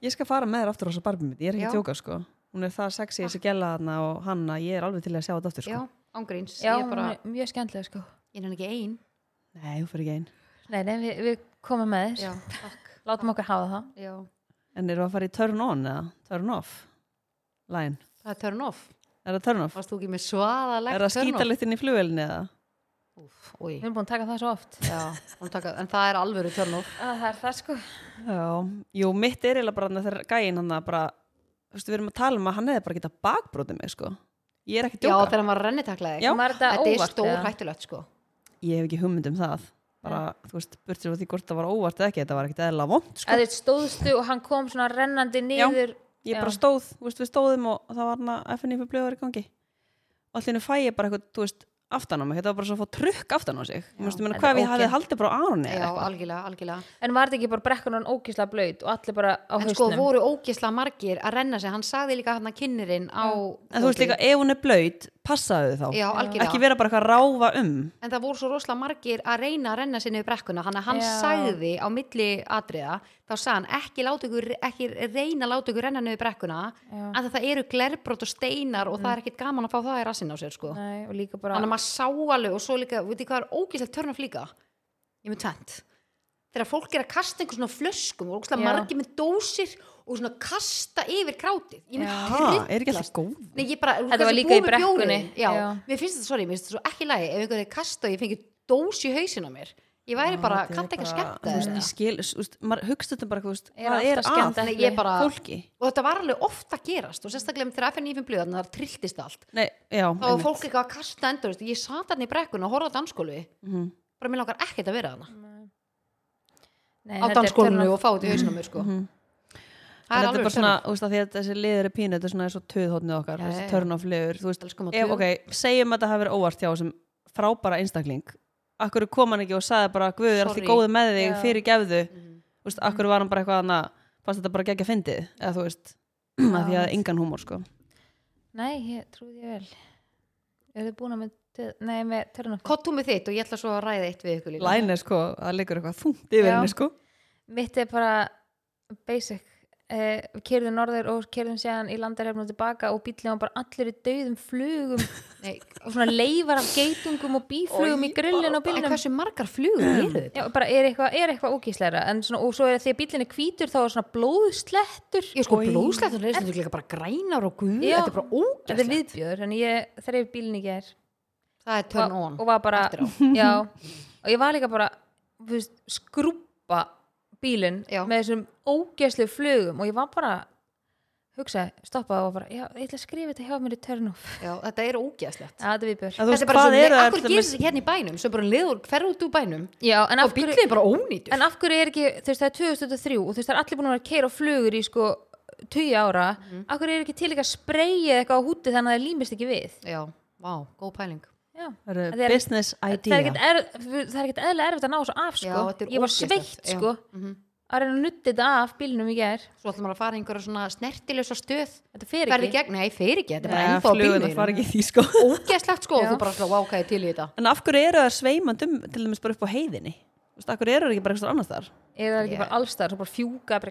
Speaker 2: Ég skal fara með þér aftur á þessu barbi mitt, ég er ekki
Speaker 3: Já.
Speaker 2: að tjóka sko Hún er það sexy þessi gæla þarna og hanna ég er alveg til í að sjá þetta aftur
Speaker 3: Já,
Speaker 2: sko
Speaker 3: ángríns.
Speaker 1: já,
Speaker 3: ég er bara,
Speaker 1: hún er mjög skemmtilega sko
Speaker 3: ég er hann ekki ein.
Speaker 2: Nei, þú fyrir ekki einn
Speaker 1: nei, nei, við, við komum með
Speaker 3: Já,
Speaker 1: þess
Speaker 3: takk.
Speaker 1: látum okkur hafa það
Speaker 3: Já,
Speaker 2: En eru að fara í turn on eða turn off Læn,
Speaker 3: það er turn off.
Speaker 2: er það turn off?
Speaker 3: Varst þú ekki með svaðalegt
Speaker 2: Er það skítalitinn í flugvelinni eða?
Speaker 3: Új,
Speaker 1: við erum búin að taka það svo oft
Speaker 3: já, hún taka, en það er alvöru turn off.
Speaker 1: að það er það sko
Speaker 2: Já, jú, mitt er eiginlega bara þarna þegar gæinn hann að bara, þú veist, við erum að tala um að hann hefði bara getað bakbrótið mig, sko. Ég er ekki að
Speaker 3: Já,
Speaker 2: djóka.
Speaker 3: þegar maður rennitaklaði.
Speaker 2: Já.
Speaker 1: Var þetta
Speaker 3: Þetta er
Speaker 1: óvart,
Speaker 3: stór
Speaker 1: eða?
Speaker 3: hættulegt sko
Speaker 2: Ég hef ekki hugmynd um það. Bara, þú veist, burtir frá því hvort það var óvart eða ekki, þetta var ekkit eðla vond, sko.
Speaker 1: að þið stóðstu og hann kom svona rennandi niður
Speaker 2: Ég
Speaker 1: Já.
Speaker 2: bara stóð, þú veist, við stóðum og það var hann að FNF blöður í gangi. Og allir fæ ég bara eitthvað, þú veist, aftan á mig. Þetta var bara svo að fá trukk aftan á sig. Þú veist, ég meina,
Speaker 1: Þetta er
Speaker 2: hvað ef ég hafði
Speaker 1: ógeð.
Speaker 2: haldið bara á Aroni
Speaker 3: Já,
Speaker 2: eða eitthvað?
Speaker 3: algjörlega, algjörlega
Speaker 1: en var þetta ekki bara brekkunan ókísla blöyt og allir bara á
Speaker 3: En sko
Speaker 1: hausnum
Speaker 3: voru ógisla margir að renna sig Hann sagði líka hann að kynnerinn á
Speaker 2: En þú veist líka, ef hún er blöyt, passaðu þá.
Speaker 3: Já, algjörlega
Speaker 2: Ekki vera bara eitthvað að ráfa um.
Speaker 3: En það voru svo rosalega margir að reyna að renna sinni við brekkuna Þannig að hann
Speaker 1: Já.
Speaker 3: sagði á milli atriða Þá sagði hann ekki, láta ykkur, ekki reyna að láta ykkur renna niður brekkuna
Speaker 1: Já.
Speaker 3: En það eru glerbrot og steinar Og það er ekkit gaman að fá það í rassinn á sér sko
Speaker 1: Nei, og líka bara
Speaker 3: Þannig að maður sá alveg og svo líka, veit ég hvað er ógislegt törnaf líka? Ég er með tvent. þegar fólk er að kasta einhver svona flöskum og ógeðslega
Speaker 1: Já.
Speaker 3: margir með dósir og svona kasta yfir krátið ég myndi
Speaker 2: Ha, er ekki alltaf
Speaker 3: tryllast.
Speaker 2: góð
Speaker 3: Nei, ég bara,
Speaker 1: Þetta var
Speaker 3: kannski
Speaker 1: líka í
Speaker 3: búið með
Speaker 1: brekkunni.
Speaker 3: bjórinn. Já,
Speaker 1: Já.
Speaker 3: mér finnst þetta, sorry, mér finnst þetta svo ekki í lagi ef einhver er kasta og ég fengi dós í hausin á mér ég væri bara,
Speaker 2: Þetta er
Speaker 3: kanntu ekki að
Speaker 2: bara-
Speaker 3: skemmta
Speaker 2: þú veist,
Speaker 3: þér?
Speaker 2: Ég skil, þú veist, maður hugst þetta bara þú veist,
Speaker 1: Er
Speaker 2: Hvað
Speaker 1: alltaf
Speaker 2: er
Speaker 1: skemmt
Speaker 2: að
Speaker 1: ekki.
Speaker 3: Nei, ég bara,
Speaker 2: fólki?
Speaker 3: og þetta var alveg oft að gerast og sérstaklega með þegar FN95 blöð þannig að það trilltist allt
Speaker 2: Nei, já,
Speaker 3: þá var fólk eitthvað að kasta endur veist, ég sat hann í brekkun og horfði á danskólu
Speaker 2: Mhm.
Speaker 3: bara mér langar ekkert að vera þarna
Speaker 1: Nei,
Speaker 3: á
Speaker 1: þetta er
Speaker 3: danskólinu
Speaker 1: turn off.
Speaker 3: og fá þetta í hausin á mér sko. það er
Speaker 2: Mhm. Þetta er
Speaker 3: alveg
Speaker 2: bara svona, þú veist, að því að þessi liður er pínu, þetta er svona eins og töðhóttnið okkar,
Speaker 3: Já, já,
Speaker 2: þessi
Speaker 3: já.
Speaker 2: törn of liður, þú veist,
Speaker 3: Elskum og
Speaker 2: ef,
Speaker 3: töðum.
Speaker 2: ok, segjum að þetta hafi verið óvart hjá þessum frábæra einstakling, akkur kom hann ekki og sagði bara, guð, er allt í
Speaker 3: Sorry. Mhm.
Speaker 2: góðu með þig,
Speaker 1: Já.
Speaker 2: fyrir gefðu, þú veist, akkur var hann bara eitthvað annað, fannst þetta bara geggja fyndið, eða þú veist, að því að engan húmor, sko.
Speaker 1: Nei, ég trúi því vel Er þið búin að með, til- nei, með törnum
Speaker 3: kottum með þitt og ég ætla svo að ræða eitt við ykkur líka
Speaker 2: Læn er sko, það liggur eitthvað þungt
Speaker 1: Já.
Speaker 2: yfir henni, sko.
Speaker 1: Mitt er bara basic eh, Kyrðum norður og kyrðum séðan í landarhefnum tilbaka og bíllinn var bara allir í dauðum flugum
Speaker 3: Nei,
Speaker 1: og svona leifar af geitungum og bíflugum í grillin á
Speaker 3: en
Speaker 1: bílnum
Speaker 3: hversu margar flugur
Speaker 2: Ehm,
Speaker 3: eru þetta?
Speaker 1: Já, bara er eitthvað er eitthvað ógísleira en svona, og svo er því að bíllinn er hvítur þá er svona blóðslettur
Speaker 3: Ég sko
Speaker 2: Oj.
Speaker 3: blóðslættur er þetta líka bara grænar og guð,
Speaker 1: Já.
Speaker 3: þetta er bara
Speaker 1: þetta er
Speaker 3: ógæslega.
Speaker 1: viðbjöður, en ég þreif bílinn í gær
Speaker 3: Það er
Speaker 1: og,
Speaker 3: turn on.
Speaker 1: og var bara
Speaker 3: Eftir á.
Speaker 1: já, og ég var líka bara þú veist, skrúpa bílinn
Speaker 3: Já.
Speaker 1: með þessum ógæslu flugum og ég var bara hugsa, stoppaði og var bara, já, ég ætla að skrifa þetta hjá mér í turn off,
Speaker 3: Já, þetta er ógæslegt.
Speaker 1: já, þetta er viðbjöður
Speaker 2: En þú
Speaker 3: Þetta
Speaker 2: veist,
Speaker 3: er bara
Speaker 2: hvað
Speaker 3: svo,
Speaker 2: eru
Speaker 3: akkur
Speaker 2: það
Speaker 3: gerðis ekki hérna í bænum, sem bara liður, ferðu út úr bænum
Speaker 1: já, en
Speaker 3: og
Speaker 1: af
Speaker 3: bíllinn
Speaker 1: hverju
Speaker 3: er bara ónýtur.
Speaker 1: en af hverju er ekki, þú veist, það er 2003 og þú veist, það er allir búin að vera að keira á flugur í sko 20 ára,
Speaker 3: Mhm.
Speaker 1: af hverju er ekki til ekki að spreyja eitthvað á húti þannig að það límist ekki við
Speaker 3: Já, vá, góð pæling.
Speaker 1: já,
Speaker 2: Þetta
Speaker 1: Þetta er-
Speaker 2: eru Business
Speaker 1: það er
Speaker 2: idea.
Speaker 1: ekkert er, það er ekkert eðlilega erfitt að ná þessu af
Speaker 3: Já,
Speaker 1: sko,
Speaker 3: þetta er
Speaker 1: ég var
Speaker 3: ógeðslegt,
Speaker 1: sveitt
Speaker 3: já. Mhm.
Speaker 1: sko að reyna að nutta þetta af bílnum í gær
Speaker 3: Svo ætlum maður að fara í einhverja svona snertilösa stöð,
Speaker 1: þetta fer
Speaker 3: ferði
Speaker 1: ekki,
Speaker 3: gegn, nei, fer ekki, þetta er bara
Speaker 2: Nei,
Speaker 3: ennþá á
Speaker 2: flugurnar fara
Speaker 3: bílnum.
Speaker 2: ekki í því, sko.
Speaker 3: Ógæslegt sko, og
Speaker 1: Já.
Speaker 3: þú bara svona, vá, hvað er til í þetta?
Speaker 2: En af hverju eru það sveimandum til dæmis bara upp á heiðinni? Þú veist, af hverju eru það ekki bara eitthvað annars þar?
Speaker 1: eða það er ekki
Speaker 3: Yeah.
Speaker 1: bara allstar svo bara fjúka bara,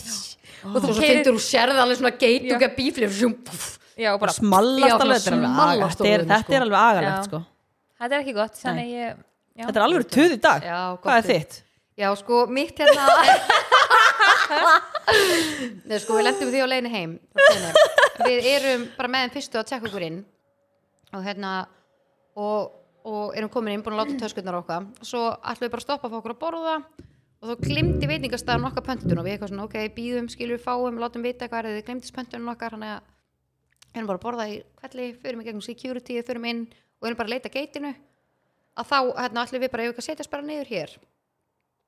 Speaker 1: og
Speaker 3: Og
Speaker 1: þú
Speaker 3: þú svo
Speaker 1: keyrir-
Speaker 3: fyndir úr sérða alveg svona geitunga bíflir, sjum, pff,
Speaker 1: já, og bara,
Speaker 3: Já,
Speaker 2: Smallast alveg,
Speaker 3: svona
Speaker 2: þetta er alveg aga-
Speaker 3: smallast
Speaker 2: þetta er-
Speaker 3: orðin,
Speaker 2: þetta er
Speaker 3: sko.
Speaker 2: alveg agalegt,
Speaker 1: Já.
Speaker 2: sko.
Speaker 1: þetta er ekki gott þannig ég, já,
Speaker 2: Þetta er alveg töð í dag.
Speaker 3: Já,
Speaker 2: Hvað
Speaker 3: gott
Speaker 2: er þitt?
Speaker 3: Já, sko, mitt hérna Nei, sko, við lendum því á leiðinu heim Við erum bara með þeim fyrstu að tjekka okkur inn og hérna og, og erum komin inn, búin að láta töskurnar okkar svo ætlum við bara að stoppa fyrir okkur að borða og þá glimti veitingastæðan okkar pöntun og við eitthvað svona, ok, býðum, skilur fáum látum vita hvað er þið, glimtis pöntunum okkar þannig að erum bara að borða í kvelli förum í gegnum security, förum inn og erum bara að leita að geitinu að þá, hérna, ætlum við bara ef við að setjast bara niður hér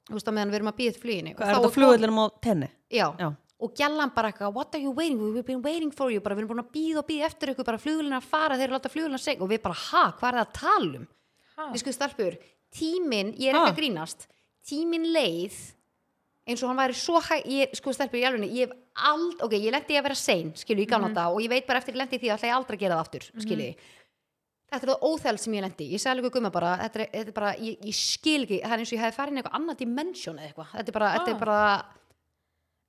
Speaker 3: þú veist að meðan við erum að býða fluginu
Speaker 2: Hvað er þetta flugullinum á tenni?
Speaker 3: já,
Speaker 2: Já.
Speaker 3: og gælan bara eitthvað what are you waiting, for? we've been waiting for you bara við erum búin að býða og býða eftir ykkur bara flugulina að fara, þeir eru að láta flugulina að segja og við bara, ha, hvað er það að tala um
Speaker 1: Ha?
Speaker 3: við skoðum stelpur, tíminn, ég er ekki
Speaker 2: Ha?
Speaker 3: að grínast tíminn leið eins og hann væri svo hæg, ég, sko stelpur í alveg ég hef ald, ok, ég lendi í að vera sein skilu, ég gamla mm og ég veit bara eftir ég lendi í því að ætla ég aldrei að gera það aftur, skilu þetta er það óþæld sem ég lendi, í. ég sagði líka gumma bara, þetta er, þetta er bara, ég, ég skil ekki það er eins og ég hefði farin eitthvað annað dimension eða eitthvað, þetta er bara, þetta er
Speaker 1: Ah.
Speaker 3: bara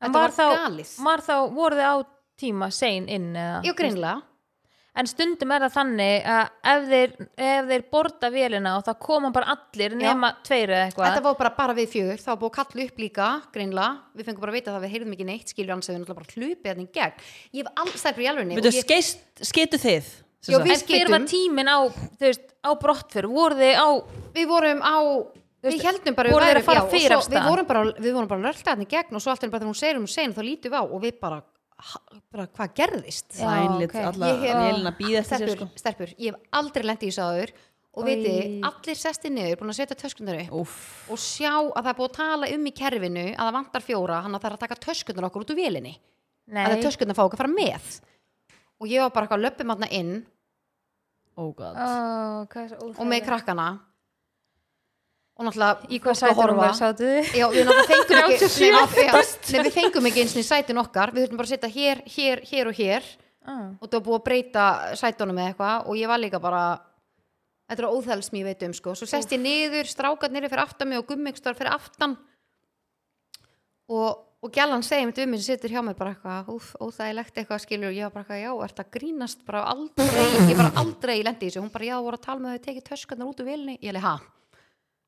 Speaker 1: en
Speaker 3: þetta
Speaker 1: var
Speaker 3: var
Speaker 1: þá,
Speaker 3: galið
Speaker 1: var þá voru þið á tíma sein inn eða,
Speaker 3: Jú, greinlega
Speaker 1: en stundum er það þannig að ef þeir, ef þeir borda vélina og það koma bara allir nema tveir eða
Speaker 3: Þetta
Speaker 1: eitthvað
Speaker 3: var bara, bara við fjögur, það var búið að kalla upp líka greinlega, við fengum bara að vita það að við heyrðum ekki neitt skilur hans að við náttúrulega bara hlupið þannig gegn Ég hef alls þær fyrir alvegni
Speaker 2: Veitu, skeist, skitu þið? sem
Speaker 3: Já,
Speaker 2: sagt.
Speaker 3: við-
Speaker 1: en fyrir var
Speaker 3: skytum.
Speaker 1: tíminn á, þú veist, á brottför voru þið á,
Speaker 3: við vorum á við
Speaker 1: veist,
Speaker 3: heldum bara við
Speaker 1: voru þeir að
Speaker 3: værum-
Speaker 1: fara
Speaker 3: já, og
Speaker 1: fyrir
Speaker 3: svo
Speaker 1: af stað?
Speaker 3: við vorum bara, við vorum bara að rölda þannig gegn og svo alltaf bara þegar hún segir um sein þá lítum við á og við bara, ha- bara hvað gerðist
Speaker 1: Já,
Speaker 2: Sænlit
Speaker 1: ok.
Speaker 2: alla
Speaker 3: Ég hef-
Speaker 2: vélina býða eftir sér, sko.
Speaker 3: stelpur, stelpur, ég hef aldrei lendið í þessu áður og
Speaker 1: Oj.
Speaker 3: veitir, allir sestir niður búin að setja töskunar upp
Speaker 2: Úff.
Speaker 3: og sjá að það er búið að tala um í kerfinu að það vantar fjóra, hann að það er að taka töskunar okkur út úr vélinni, að það
Speaker 1: nei
Speaker 3: er töskunar fá okkur að fara með og ég var bara eitthvað löpum hann inn
Speaker 2: Oh god.
Speaker 1: Ó,
Speaker 3: Ah.
Speaker 1: hvað er svo
Speaker 3: og með
Speaker 1: óþægilegt.
Speaker 3: krakkana og náttúrulega
Speaker 1: í hvað
Speaker 3: fólk að
Speaker 1: sætunum
Speaker 3: horfa.
Speaker 1: var sáttu þið
Speaker 3: Já, við náttúrulega fengum ekki
Speaker 1: 37.
Speaker 3: nema, já, Nei, við fengum ekki eins og sætin okkar Við þurfum bara að setja hér, hér, hér og hér
Speaker 1: Ah.
Speaker 3: Og það var búið að breyta sætunum eða eitthvað Og ég var líka bara Þetta er óþægilegt sem ég veit um sko Svo sest ég niður, strákarnir er fyrir aftan mig Og gummikstar fyrir aftan Og, og gælan segir mitt við mér sem situr hjá mér bara eitthvað Úf, óþægilegt eitthvað skilur Og ég var bara eitthvað, já, ert að grínast Bara aldrei, ég bara aldrei lendi í þessu Hún bara, já, voru að tala með þau tekið töskarnar út úr vilni Ég leið, ha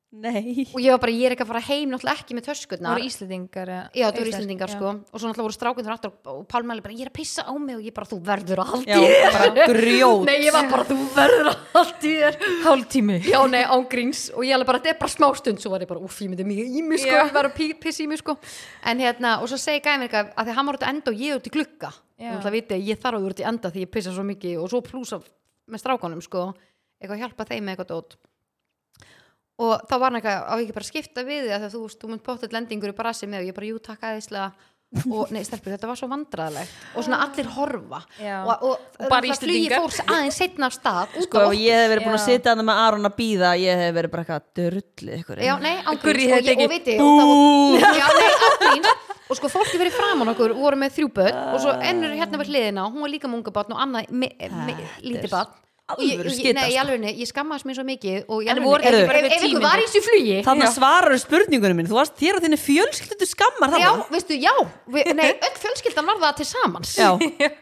Speaker 2: Nei.
Speaker 3: og ég var bara, ég er ekki að fara heim náttúrulega ekki með
Speaker 1: Það
Speaker 3: töskurnar
Speaker 1: voru Íslendingar eða-
Speaker 3: Já, þú eru
Speaker 1: Íslensk,
Speaker 3: Íslendingar
Speaker 1: já.
Speaker 3: sko og svo náttúrulega voru strákunir aftur og pálmæli bara, ég er að pissa á mig og ég bara, þú verður að halda
Speaker 2: Já,
Speaker 3: í þér."
Speaker 2: bara grjót.
Speaker 3: Nei, ég var bara, þú verður að halda í þér
Speaker 1: Hálftími
Speaker 3: Já, nei, ángríns og ég alveg bara, þetta er bara smástund svo var ég bara, úf, ég myndi mjög í mig sko
Speaker 1: Já.
Speaker 3: ég var að pí- pissa í mig sko en hérna, og svo segi gæmi eitthvað að því að hann var út að enda og ég út í glugga
Speaker 1: Já.
Speaker 3: og náttúrulega viti, ég þarf að vera út í enda því ég pissa svo mikið og svo plúsa með strákanum sko, eitthvað hjálpa þeim með eitthvað dót og þá var hann eitthvað á ekki bara að skipta við því að þú, veist, þú mynd bóttið lendingur í brasi með og ég bara, jú, takk aðeinslega og nei, stelpur, þetta var svo vandræðilegt og svona allir horfa
Speaker 1: Já.
Speaker 3: og, og,
Speaker 1: Og bara
Speaker 3: náttúrulega flugið
Speaker 1: Íslendingar.
Speaker 3: fór aðeins setna af stað út
Speaker 2: Sko,
Speaker 3: af
Speaker 2: ef ég hef verið búin að
Speaker 1: Já.
Speaker 2: sitja hann með Aron að býða, ég hef verið bara eitthvað að dörrullu ykkur.
Speaker 3: Já, nei, ángríns
Speaker 1: Gurrí
Speaker 3: og,
Speaker 1: hefði
Speaker 3: ég, og
Speaker 1: tekið
Speaker 3: viti og það voru- Já, nei, ángríns Og sko, fólki fyrir framan okkur voru með þrjú börn Og svo ennur hérna var hliðina og Hún var líka með unga barn og annað me, me, lítið barn Og ég-
Speaker 2: alvöru
Speaker 3: ég-
Speaker 2: skita,
Speaker 3: Nei,
Speaker 2: sko.
Speaker 3: ég alveg, ég skammaðist mér svo mikið Og ég
Speaker 1: En
Speaker 3: alveg,
Speaker 1: voru
Speaker 3: ef,
Speaker 2: ekki
Speaker 1: bara fyrir
Speaker 3: ef, ef ykkur
Speaker 1: tímyndum?
Speaker 3: var í þessu flugi
Speaker 2: Þannig
Speaker 3: Já.
Speaker 2: svarar spurningunum minn, þú varst þér og þinni fjölskyldu skammar
Speaker 3: Já,
Speaker 2: þannig.
Speaker 3: veistu, já, vi, nei, öll fjölskyldan var það til samans
Speaker 2: Já.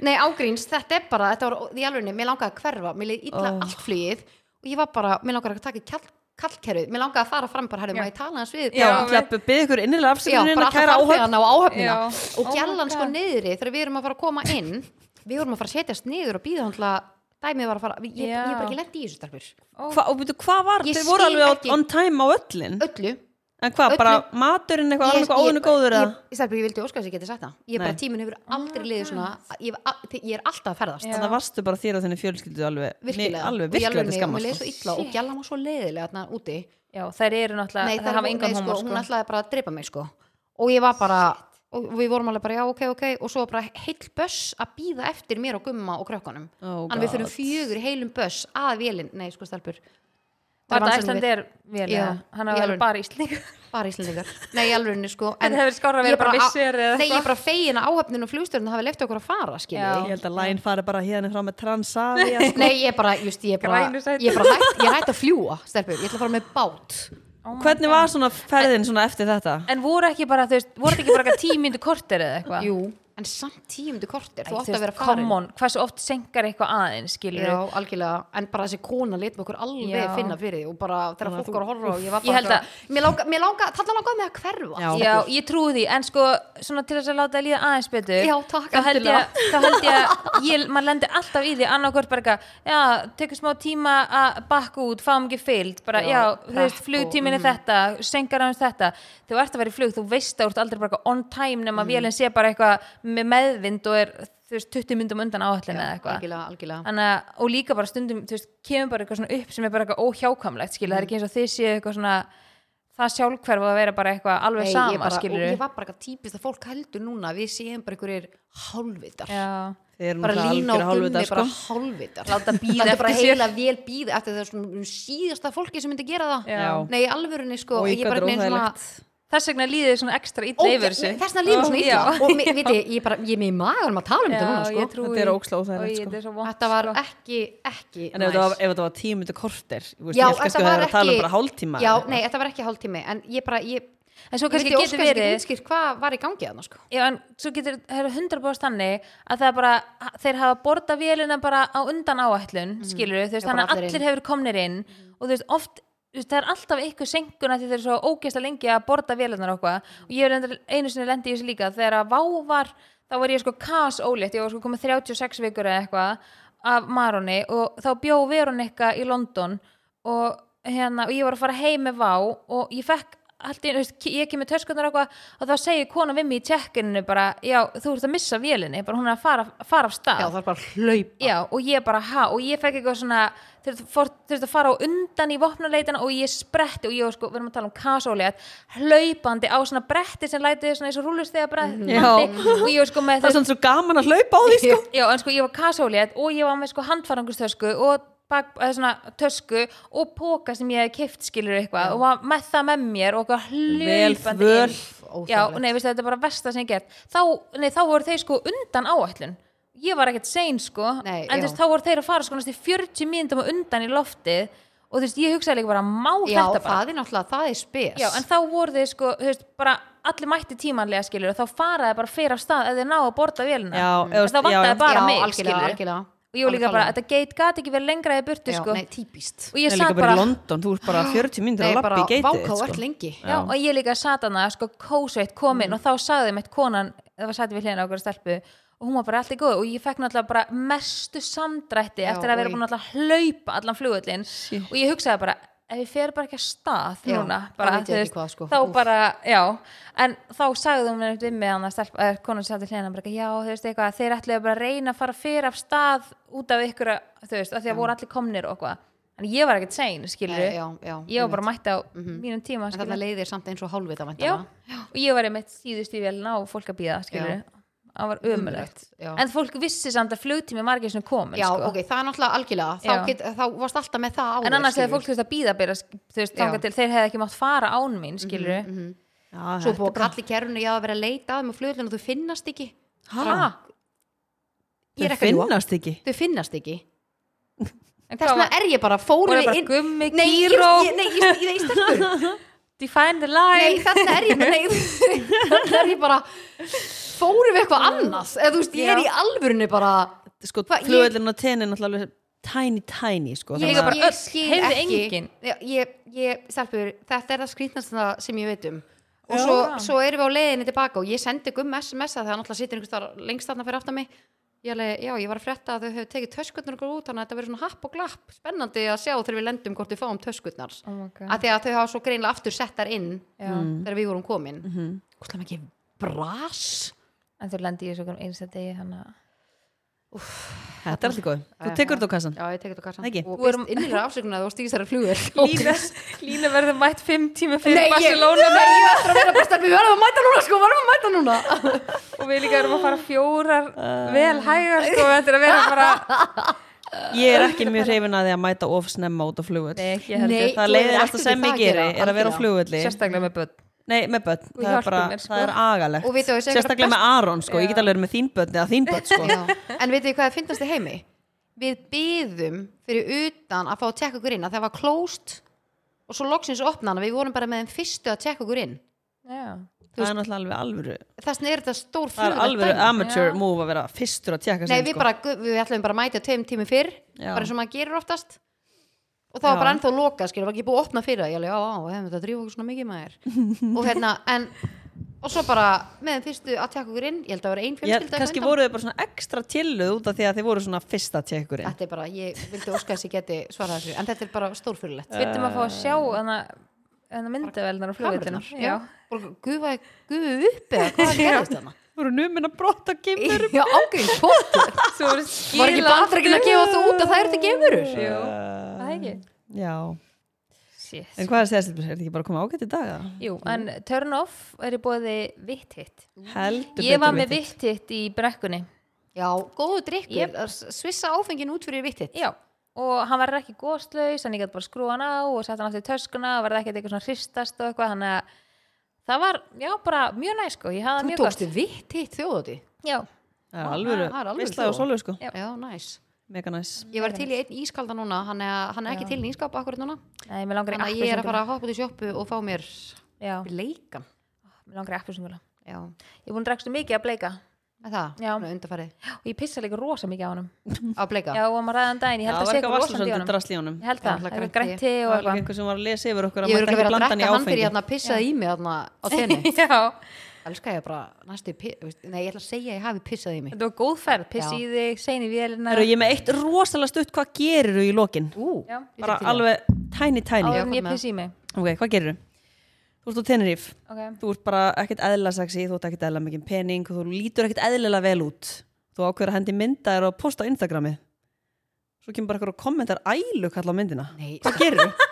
Speaker 3: Nei, ágríns, þetta er bara, þetta var í alvegni, mér langaði að hverfa, mér leið illa
Speaker 2: Ó.
Speaker 3: allt flugið og ég var bara, mér langaði að taka kall, kallkerfið, mér langaði að fara fram bara, herrðu,
Speaker 1: Já.
Speaker 3: maður ég tala hans við
Speaker 2: Já,
Speaker 1: Já,
Speaker 2: klappu, byggðu ykkur innilega
Speaker 3: já, bara
Speaker 2: afsökunina,
Speaker 3: alltaf
Speaker 2: kæra áhöfn.
Speaker 3: farþegana og áhöfnina
Speaker 1: Já. Oh
Speaker 3: og
Speaker 1: my
Speaker 3: gælan sko
Speaker 1: God.
Speaker 3: niðri þegar við erum að fara að koma inn við vorum að fara að setjast niður og býða hann til að dæmið var að fara, ég, ég, ég
Speaker 1: Já.
Speaker 3: er bara ekki lendi í þessu starfur
Speaker 2: Hva, og byrju, hvað var,
Speaker 3: Ég
Speaker 2: þau voru
Speaker 3: skil
Speaker 2: alveg
Speaker 3: ekki.
Speaker 2: on- on time á öllin
Speaker 3: öllu
Speaker 2: en hvað, bara
Speaker 3: öllu.
Speaker 2: maturinn eitthvað, alveg eitthvað óðinu góður
Speaker 3: ég,
Speaker 2: eða?
Speaker 3: ég, starfur, ég vildi óska þess að ég geti sagt það ég
Speaker 2: Nei. Ah.
Speaker 3: bara tíminn hefur aldrei liðið svona ég, hef a- ég er alltaf að ferðast
Speaker 1: Já.
Speaker 2: þannig að varstu bara þér og þinni fjölskyldu alveg,
Speaker 3: virkilega,
Speaker 2: mi- alveg
Speaker 3: Og ég
Speaker 2: virkilega til
Speaker 3: alveg mig, og mér
Speaker 2: skammar
Speaker 3: leið svo
Speaker 2: sko.
Speaker 3: illa og gælan var svo leiðilega þarna úti
Speaker 1: Já, þær eru náttúrulega,
Speaker 3: Nei,
Speaker 1: það
Speaker 3: það
Speaker 1: hafa
Speaker 3: var, nei,
Speaker 1: engan
Speaker 3: sko,
Speaker 1: hómar sko.
Speaker 3: hún ætlaði bara að dreipa mig sko. og ég var bara og við vorum alveg bara já ok ok og svo var bara heill böss að býða eftir mér og gumma og krökkunum
Speaker 2: Oh
Speaker 3: en við fyrir
Speaker 2: God.
Speaker 3: fjögur heilum böss að vélinn, nei sko stelpur
Speaker 1: Var þetta
Speaker 3: vansinni
Speaker 1: Æslandir vel
Speaker 3: Já,
Speaker 1: eða? Hann
Speaker 3: í
Speaker 1: hafa
Speaker 3: alvöru.
Speaker 1: verið bara Íslandingar
Speaker 3: við- bara íslendingar, nei alveg sko
Speaker 1: Þetta hefði verið skárra að
Speaker 3: ég
Speaker 1: vera bara
Speaker 3: á-
Speaker 1: vissir eða
Speaker 3: nei ég
Speaker 1: eitthvað.
Speaker 3: er bara fegin að áhöfnin og flugstjórn hafi leift okkur að fara
Speaker 1: Já.
Speaker 2: ég
Speaker 3: skiljiði
Speaker 2: held að læn fari bara hérna frá með Transavia sko.
Speaker 3: nei ég er bara, just, ég er bara,
Speaker 1: Grænu sætin.
Speaker 3: ég er bara hætt, ég er hætt að fljúa stelpur, ég ætla að fara með bát
Speaker 2: hvernig var svona ferðin svona eftir þetta?
Speaker 1: En voru ekki bara, þú veist, voru þetta ekki bara tímindu kortir eða eitthvað?
Speaker 3: jú, en samt tímundu kortir þú
Speaker 1: Æ,
Speaker 3: átt að
Speaker 1: veist,
Speaker 3: vera farin
Speaker 1: Come on, hversu oft senkar eitthvað aðeins, skilur
Speaker 3: Já, algjörlega, en bara þessi kona lit með okkur alveg
Speaker 1: Já.
Speaker 3: finna fyrir því og bara þegar fólk var að horfa og ég var
Speaker 1: Ég
Speaker 3: bara
Speaker 1: held að-
Speaker 3: eitthvað- mér langa, mér langa, þarna langaði mig að hverfa
Speaker 2: Já.
Speaker 1: Já, ég trúi því, en sko svona til þess að láta líða aðeins betur
Speaker 3: Já, takk,
Speaker 1: þá held
Speaker 3: endilega.
Speaker 1: ég, þá held ég, að ég maður lendir alltaf í því, annarkvort bara eitthvað, já, tekur smá tíma að bakka út, fáum ekki fylgd, bara
Speaker 3: Já,
Speaker 1: já, þú veist,
Speaker 3: prep og- Mhm.
Speaker 1: flugtímin er þetta senkar aðeins þetta, þú ert að vera í flug þú veist að þú ert aldrei bara eitthvað on time
Speaker 3: Mhm.
Speaker 1: nema mm. vélinn sé bara eitthvað með meðvind og er, þú veist, 20 myndum undan áallin eða eitthvað
Speaker 3: algjörlega, algjörlega
Speaker 1: Þannig að, og líka bara stundum, þú veist, kemur bara eitthvað svona upp sem er bara eitthvað óhjákamlegt, skilur, það
Speaker 3: Mm.
Speaker 1: er ekki eins og þið séu eitthvað svona, það sjálfhverfa að vera bara eitthvað alveg
Speaker 3: Nei, ég,
Speaker 1: sama,
Speaker 3: bara, og
Speaker 1: skilur
Speaker 3: ég var bara eitthvað típist að fólk heldur núna að við séum bara einhverjir hálfvitar
Speaker 1: Já,
Speaker 2: Þið eru
Speaker 3: bara
Speaker 2: náttúrulega
Speaker 3: lína og
Speaker 2: algjörir
Speaker 3: gummi
Speaker 2: hálfvitar, sko.
Speaker 3: bara hálfvitar
Speaker 1: láta
Speaker 3: það
Speaker 1: býða
Speaker 3: er bara
Speaker 1: eftir sér
Speaker 3: heila vel býð eftir það er svona síðasta fólki sem myndi gera það
Speaker 1: Já.
Speaker 3: nei, í alvörunni sko
Speaker 2: og
Speaker 3: ég
Speaker 2: ég
Speaker 3: bara
Speaker 2: gæti
Speaker 3: einhvern veginn svona-
Speaker 2: óþægilegt
Speaker 1: Þess vegna líðið þið svona ekstra illa
Speaker 3: Ógeð-
Speaker 1: yfir þessu
Speaker 3: Þess vegna lífum svona illa
Speaker 1: Já,
Speaker 3: og mér- viti, ég bara, ég er með í maður að tala um þetta núna
Speaker 1: já
Speaker 3: sko
Speaker 1: ég trúi
Speaker 2: Þetta er ógeðslega óþægilegt,
Speaker 1: Oj,
Speaker 2: sko.
Speaker 1: þetta er svo vont,
Speaker 3: Þetta var
Speaker 1: sko.
Speaker 3: ekki, ekki
Speaker 2: en ef þetta var- ef þetta var tímundu korter ég veist,
Speaker 3: Já,
Speaker 2: ég held kannski
Speaker 3: þetta
Speaker 2: að það
Speaker 3: var
Speaker 2: er að tala um
Speaker 3: ekki-
Speaker 2: bara hálftíma eða
Speaker 3: Já,
Speaker 2: eitthvað.
Speaker 3: nei, þetta var ekki hálftími En ég bara, ég
Speaker 1: En svo kannski
Speaker 3: vildi
Speaker 1: getur
Speaker 3: óskast ekki
Speaker 1: verið
Speaker 3: útskýrt hvað var í gangi þarna sko
Speaker 1: Já, en svo getur, það eru hundra bóðast þannig að það er bara, þeir hafa borða vélina bara á undan áætlun, mm. skilur við, þú veist,
Speaker 3: Já, bara
Speaker 1: þannig að
Speaker 3: allir
Speaker 1: allir hefur komnir inn og þú veist, oft, þú veist, það er alltaf ykkur senkuna því þeir eru svo ógeðslega lengi að borða vélinar og eitthvað og ég er reyndar einu sinni lendi í þessu líka, þegar að vá var, þá var ég sko kas ólétt, ég var sko komið 36 vikur eða eitthvað af Maroni og þá bjó Veronika í London og hérna, og ég var að fara heim með Vá og ég fekk alltaf, veist, ki- ég kemur töskunar eitthvað og þá segir kona við mig í tjekkinu bara, já, þú ert að missa vélinni bara hún er að fara, fara af stað
Speaker 3: Já, það var bara hlaup
Speaker 1: Já, og ég bara ha, og ég fekk eitthvað svona þurfti að fara á undan í vopnuleitina og ég spretti og ég var sko, við erum að tala um kasólið, hlaupandi á svona bretti sem lætið svona eins og rúlustega bretti
Speaker 2: Já.
Speaker 1: og ég var sko með
Speaker 2: það er svona svo gaman að hlaupa á því sko
Speaker 1: Já, en sko ég var kasólið og ég var með sko handfarangustösku og bak, eða svona, tösku og póka sem ég hef kift skilur eitthvað og var með það með mér og eitthvað hlupandi
Speaker 2: Vel
Speaker 1: inn.
Speaker 3: óþægilegt.
Speaker 1: Já, nei, veistu, þetta er bara versta sem ég hef gert þá, nei, þá voru þeir sko undan áætlun ég var ekkert sein sko
Speaker 3: Nei,
Speaker 1: en
Speaker 3: já.
Speaker 1: þú veist, þá voru þeir að fara sko næstum 40 mínútum á undan í loftið og þú veist, ég hugsaði líka bara má
Speaker 3: Já,
Speaker 1: þetta bara
Speaker 3: það er náttúrulega, það er spes
Speaker 1: Já, en þá voru þeir sko, þú veist, bara allir mætti tímanlega skilur og þá faraði bara fyrir af stað að þeir ná að borða vélina
Speaker 2: Já,
Speaker 1: En
Speaker 2: eða,
Speaker 1: þá
Speaker 2: já,
Speaker 1: vantaði
Speaker 2: já.
Speaker 1: bara
Speaker 3: Mm. Já,
Speaker 1: mig
Speaker 3: algjörlega,
Speaker 1: skilurðu
Speaker 3: algjörlega
Speaker 1: og og ég var
Speaker 3: Alveg
Speaker 1: líka bara,
Speaker 3: klárlega.
Speaker 1: þetta gate gat ekki verið lengra í burtu
Speaker 3: já,
Speaker 1: sko.
Speaker 3: nei, típist
Speaker 1: og
Speaker 2: Ég
Speaker 1: ég
Speaker 2: líka
Speaker 1: satt
Speaker 2: bara í
Speaker 1: bara,
Speaker 2: London, þú ert bara 40 myndir
Speaker 3: nei,
Speaker 2: að
Speaker 3: bara
Speaker 2: lappa í geitið sko.
Speaker 3: vákáð
Speaker 2: þitt,
Speaker 3: öll lengi
Speaker 1: já, og ég líka sat hana sko kósveitt komin
Speaker 3: Mm.
Speaker 1: og þá sagði mitt konan það var sætti við hliðina á okkur stelpu og hún var bara allt í góð og ég fekk náttúrulega bara mestu samdrætti
Speaker 3: Já,
Speaker 1: eftir að vera
Speaker 3: oj.
Speaker 1: búin að náttúrulega hlaupa allan flugullin
Speaker 2: Shit.
Speaker 1: og ég hugsaði bara ef ég fer bara ekki að stað
Speaker 3: Já,
Speaker 1: núna
Speaker 3: þá
Speaker 1: bara,
Speaker 3: veit ég
Speaker 1: þú
Speaker 3: ekki hvað, sko.
Speaker 1: þá
Speaker 3: Úff.
Speaker 1: bara, já en þá sagði hún mér upp við mig hann að stelpa, er, konan sætti hliðina bara, já, þú veist eitthvað, þeir ætluðu bara að reyna að fara fyrir af stað út af ykkur, þú veist, af því að voru allir komnir og hvað, en ég var ekkert sein, skilur
Speaker 3: Nei, já, já,
Speaker 1: ég var bara
Speaker 3: einmitt. Mhm.
Speaker 1: mætt á mínum tíma
Speaker 3: en
Speaker 1: skilur.
Speaker 3: þarna leiðir samt eins og hálfvita
Speaker 1: já,
Speaker 3: væntanlega.
Speaker 1: og ég var einmitt síðust í velna og fólk að býða skilur, það var ömulegt
Speaker 3: Ömurlegt, já.
Speaker 1: en fólk vissi samt að flugtími margir sem komin
Speaker 3: já,
Speaker 1: sko.
Speaker 3: ok, það er náttúrulega algjörlega þá,
Speaker 1: Já.
Speaker 3: get, þá varst alltaf með það á
Speaker 1: en
Speaker 3: þér,
Speaker 1: annars hefði
Speaker 3: skilur.
Speaker 1: fólk þurft að býða byrja, þú veist,
Speaker 3: Já.
Speaker 1: þangað til þeir hefði ekki mátt fara án mín skilur
Speaker 2: Já,
Speaker 3: svo
Speaker 2: þetta
Speaker 3: búið að
Speaker 2: bara-
Speaker 3: kalla í kerfinu ég að vera að leita að með flugulun og þú finnast ekki
Speaker 2: Ha?
Speaker 3: ég er
Speaker 2: Þau
Speaker 3: ekki að ljúga.
Speaker 2: finnast ekki
Speaker 3: þau finnast ekki
Speaker 1: en
Speaker 3: þess
Speaker 1: hvað
Speaker 3: vegna
Speaker 1: var,
Speaker 3: er ég bara fór
Speaker 1: voru
Speaker 3: ég
Speaker 1: bara
Speaker 3: inn-
Speaker 1: gummi,
Speaker 3: nei, ég,
Speaker 1: kýró
Speaker 3: ég, nei, ég, ég, ég stelpu
Speaker 1: define the
Speaker 3: nei,
Speaker 1: line
Speaker 3: þarna er ég nei, þarna er ég bara fórum við eitthvað annað eða þú veist, ég er
Speaker 1: Já.
Speaker 3: í alvörinu bara
Speaker 2: Sko,
Speaker 3: Hva, ég-
Speaker 2: flugvellin og tenin náttúrulega tiny, tiny, sko
Speaker 1: Ég-
Speaker 2: þannig að-
Speaker 1: bara öll, heyrði enginn.
Speaker 3: já, ég, ég, stelpur, þetta er það skrýtnasta sem ég veit um og
Speaker 1: Já.
Speaker 3: svo, svo erum við á leiðinni tilbaka og ég sendi gum SMS að það náttúrulega situr einhvers þar lengst þarna fyrir aftan mig ég alveg, já, ég var að frétta að þau hefur tekið töskutnar okkur út þannig að þetta verður svona happ og glapp spennandi að sjá þegar við lendum hvort við fáum töskutnar
Speaker 1: oh my god
Speaker 3: að því að þau hafa svo greinlega aftur settar inn
Speaker 1: Já.
Speaker 3: þegar við vorum komin mm -hmm. Hvort ekki bras?
Speaker 1: en þú lendi í þessu okkur einsta degi hana.
Speaker 2: Þetta er alltaf góð, þú tekur þetta á kassan
Speaker 3: Já, ég tekur þetta á kassan
Speaker 2: Ekki?
Speaker 3: og
Speaker 1: Við erum-
Speaker 3: byrst innilega afsökunar og stíðis þær flugur
Speaker 1: Lína, Lína verður mætt fimm tíma fyrir
Speaker 3: Nei, ég-
Speaker 1: Barcelona
Speaker 3: Nei, ég ætla að vera bara stelpur, við verðum að mæta núna sko, við verðum að mæta núna
Speaker 1: og við líka erum að fara fjórar vel hægar sko, þetta er að vera bara
Speaker 2: Ég er ekki mjög hrifin að því að mæta of snemma út á flugvöld
Speaker 1: Nei, ekki heldur.
Speaker 3: Nei.
Speaker 2: Það
Speaker 3: þú
Speaker 2: leiðir
Speaker 3: hefur
Speaker 2: alltaf
Speaker 3: ekkert
Speaker 2: sem ég
Speaker 3: við það að
Speaker 2: geri
Speaker 3: gera,
Speaker 2: er að vera á
Speaker 3: algjörlega.
Speaker 2: flugvölli
Speaker 1: sérstaklega með börn
Speaker 2: Nei, með börn, það er
Speaker 1: hjálpar
Speaker 2: bara,
Speaker 1: mér, sko.
Speaker 2: það er agalegt
Speaker 3: Og vitið þú, þessi er
Speaker 2: Sérstaklega
Speaker 3: eitthvað
Speaker 2: með Aron, sko, ég get alveg verið með þín börn eða þín börn, sko
Speaker 3: Já. En veitu hvað það finnast þið heimi? Við byðum fyrir utan að fá að tekka okkur inn að það var closed og svo loksins opnaðan við vorum bara með þeim fyrstu að tekka okkur inn
Speaker 1: Já.
Speaker 2: Það er náttúrulega alveg alvöru
Speaker 3: þess vegna er þetta stór
Speaker 2: Það er
Speaker 3: flugelegt
Speaker 2: alveg
Speaker 3: dæmi.
Speaker 2: amateur
Speaker 1: Já.
Speaker 2: move að vera fyrstur að sko. tjekka
Speaker 3: Nei, við, bara, gu- við ætlum bara að mæta tveim tími fyrr
Speaker 2: Já.
Speaker 3: bara eins og maður gerir oftast og það var
Speaker 2: Já.
Speaker 3: bara ennþá loka, skilur, var ekki búið að opna fyrir það ég alveg, já, á, hefum þetta að drífa okkur svona mikið maður og hérna, en og svo bara, með þeim fyrstu að tekka okkur inn ég held að vera ein
Speaker 2: Já,
Speaker 3: fjölskylda
Speaker 2: kannski
Speaker 3: hérna undan.
Speaker 2: voru þau bara svona ekstra tilluð út af því að þið voru svona fyrsta tjekkurinn
Speaker 3: þetta er bara, ég vildi óska þess að ég geti svarað þessu en þetta er bara stórfyrirlegt
Speaker 1: Við veitum að fá að sjá þannig myndavelnar og flugvillinu
Speaker 3: gufa, gufa upp eða hvað gerðist þarna
Speaker 2: voru numin að brotta gimur
Speaker 3: já, ágæðin fótt
Speaker 1: Svo voru
Speaker 3: var ekki
Speaker 1: skila
Speaker 3: bandrækin að gefa þú út að það eru þetta gefurur
Speaker 1: Jú, það ekki
Speaker 2: Já,
Speaker 1: Shit.
Speaker 2: en hvað er þessi, er þetta ekki bara að koma ágætt í dag? eða?
Speaker 1: Jú, en turn off er í bóði vitt hitt
Speaker 2: Heldur
Speaker 1: Ég var
Speaker 2: betur
Speaker 1: með
Speaker 2: vitið.
Speaker 1: vitt hitt í brekkunni
Speaker 3: já, góðu drikkur,
Speaker 1: Jep.
Speaker 3: yep. svissa áfengin út fyrir vittitt
Speaker 1: Já, og hann var ekki góðslaus hann ég gæti bara skrúa hann á og setja hann aftur í töskuna og var það ekkert eitthvað svona hristast og eitthvað þannig að það var, já, bara mjög næ sko, ég hafði það
Speaker 3: Þú
Speaker 1: mjög gott
Speaker 3: tókstu vitt hitt þjóðati
Speaker 1: Já,
Speaker 2: Það er alvöru,
Speaker 3: Það er alvöru
Speaker 2: veistlega og
Speaker 3: þjóð.
Speaker 2: sólu sko
Speaker 1: Já.
Speaker 3: Já, næs
Speaker 2: Mega næs
Speaker 3: Ég var til í einn ískalda núna, hann er, hann er ekki til í ískap akkurat núna
Speaker 1: Nei, mér langar í
Speaker 3: Þannig að ég er að
Speaker 1: appelsingula.
Speaker 3: fara að hoppa út í sjoppu og fá mér
Speaker 1: Já,
Speaker 3: bleikan
Speaker 1: mér langar í appelsingula
Speaker 3: Já,
Speaker 1: Ég er búin að dregstu mikið að bleika
Speaker 3: Er það,
Speaker 1: Já.
Speaker 3: svona undarfarið
Speaker 1: og ég pissa líka rosa mikið á honum
Speaker 3: Á bleika
Speaker 1: já, og maður ræðan daginn, ég held að sé eitthvað rosa mikið í honum
Speaker 2: drasli í honum
Speaker 1: ég held
Speaker 3: Já,
Speaker 1: það,
Speaker 3: náttúrulega
Speaker 1: það er
Speaker 3: grænt
Speaker 1: grænt te og
Speaker 2: Það
Speaker 1: eitthvað
Speaker 2: var líka einhver sem var að lesa yfir okkur
Speaker 3: Ég
Speaker 2: að
Speaker 3: verður
Speaker 2: maður ekki
Speaker 3: ekki verið að
Speaker 2: blanda hann í
Speaker 3: drekka hann fyrir
Speaker 2: áfengi
Speaker 3: hérna að pissaði í mig þarna á tenni
Speaker 1: já,
Speaker 3: Elskar ég bara næstu, í pi- veist, nei ég ætla að segja að ég hafi pissað í mig
Speaker 1: þetta var góð ferð piss
Speaker 3: Já.
Speaker 1: í þig, sein í vélina
Speaker 2: Það eru ég með eitt rosalega stutt, hvað gerir þú í lokin?
Speaker 3: Ú,
Speaker 1: Já.
Speaker 3: ég
Speaker 2: Bara
Speaker 3: tek til í það.
Speaker 2: alveg tiny
Speaker 1: áður
Speaker 2: tiny
Speaker 1: en
Speaker 3: Já,
Speaker 1: ég
Speaker 3: komdu með
Speaker 1: piss í mig
Speaker 2: Ok, hvað gerir þú? Þú ert á Tenerife
Speaker 1: ok,
Speaker 2: Þú ert bara ekkert eðla sexy, þú ert ekkert eðla mikið pening Þú lítur ekkert eðlilega vel út Þú ákveður að hendi mynda þér og posta á Instagrami Svo kemur bara eitthvað og kommentar ælu kalla á myndina
Speaker 3: Nei,
Speaker 2: Hvað gerir þú?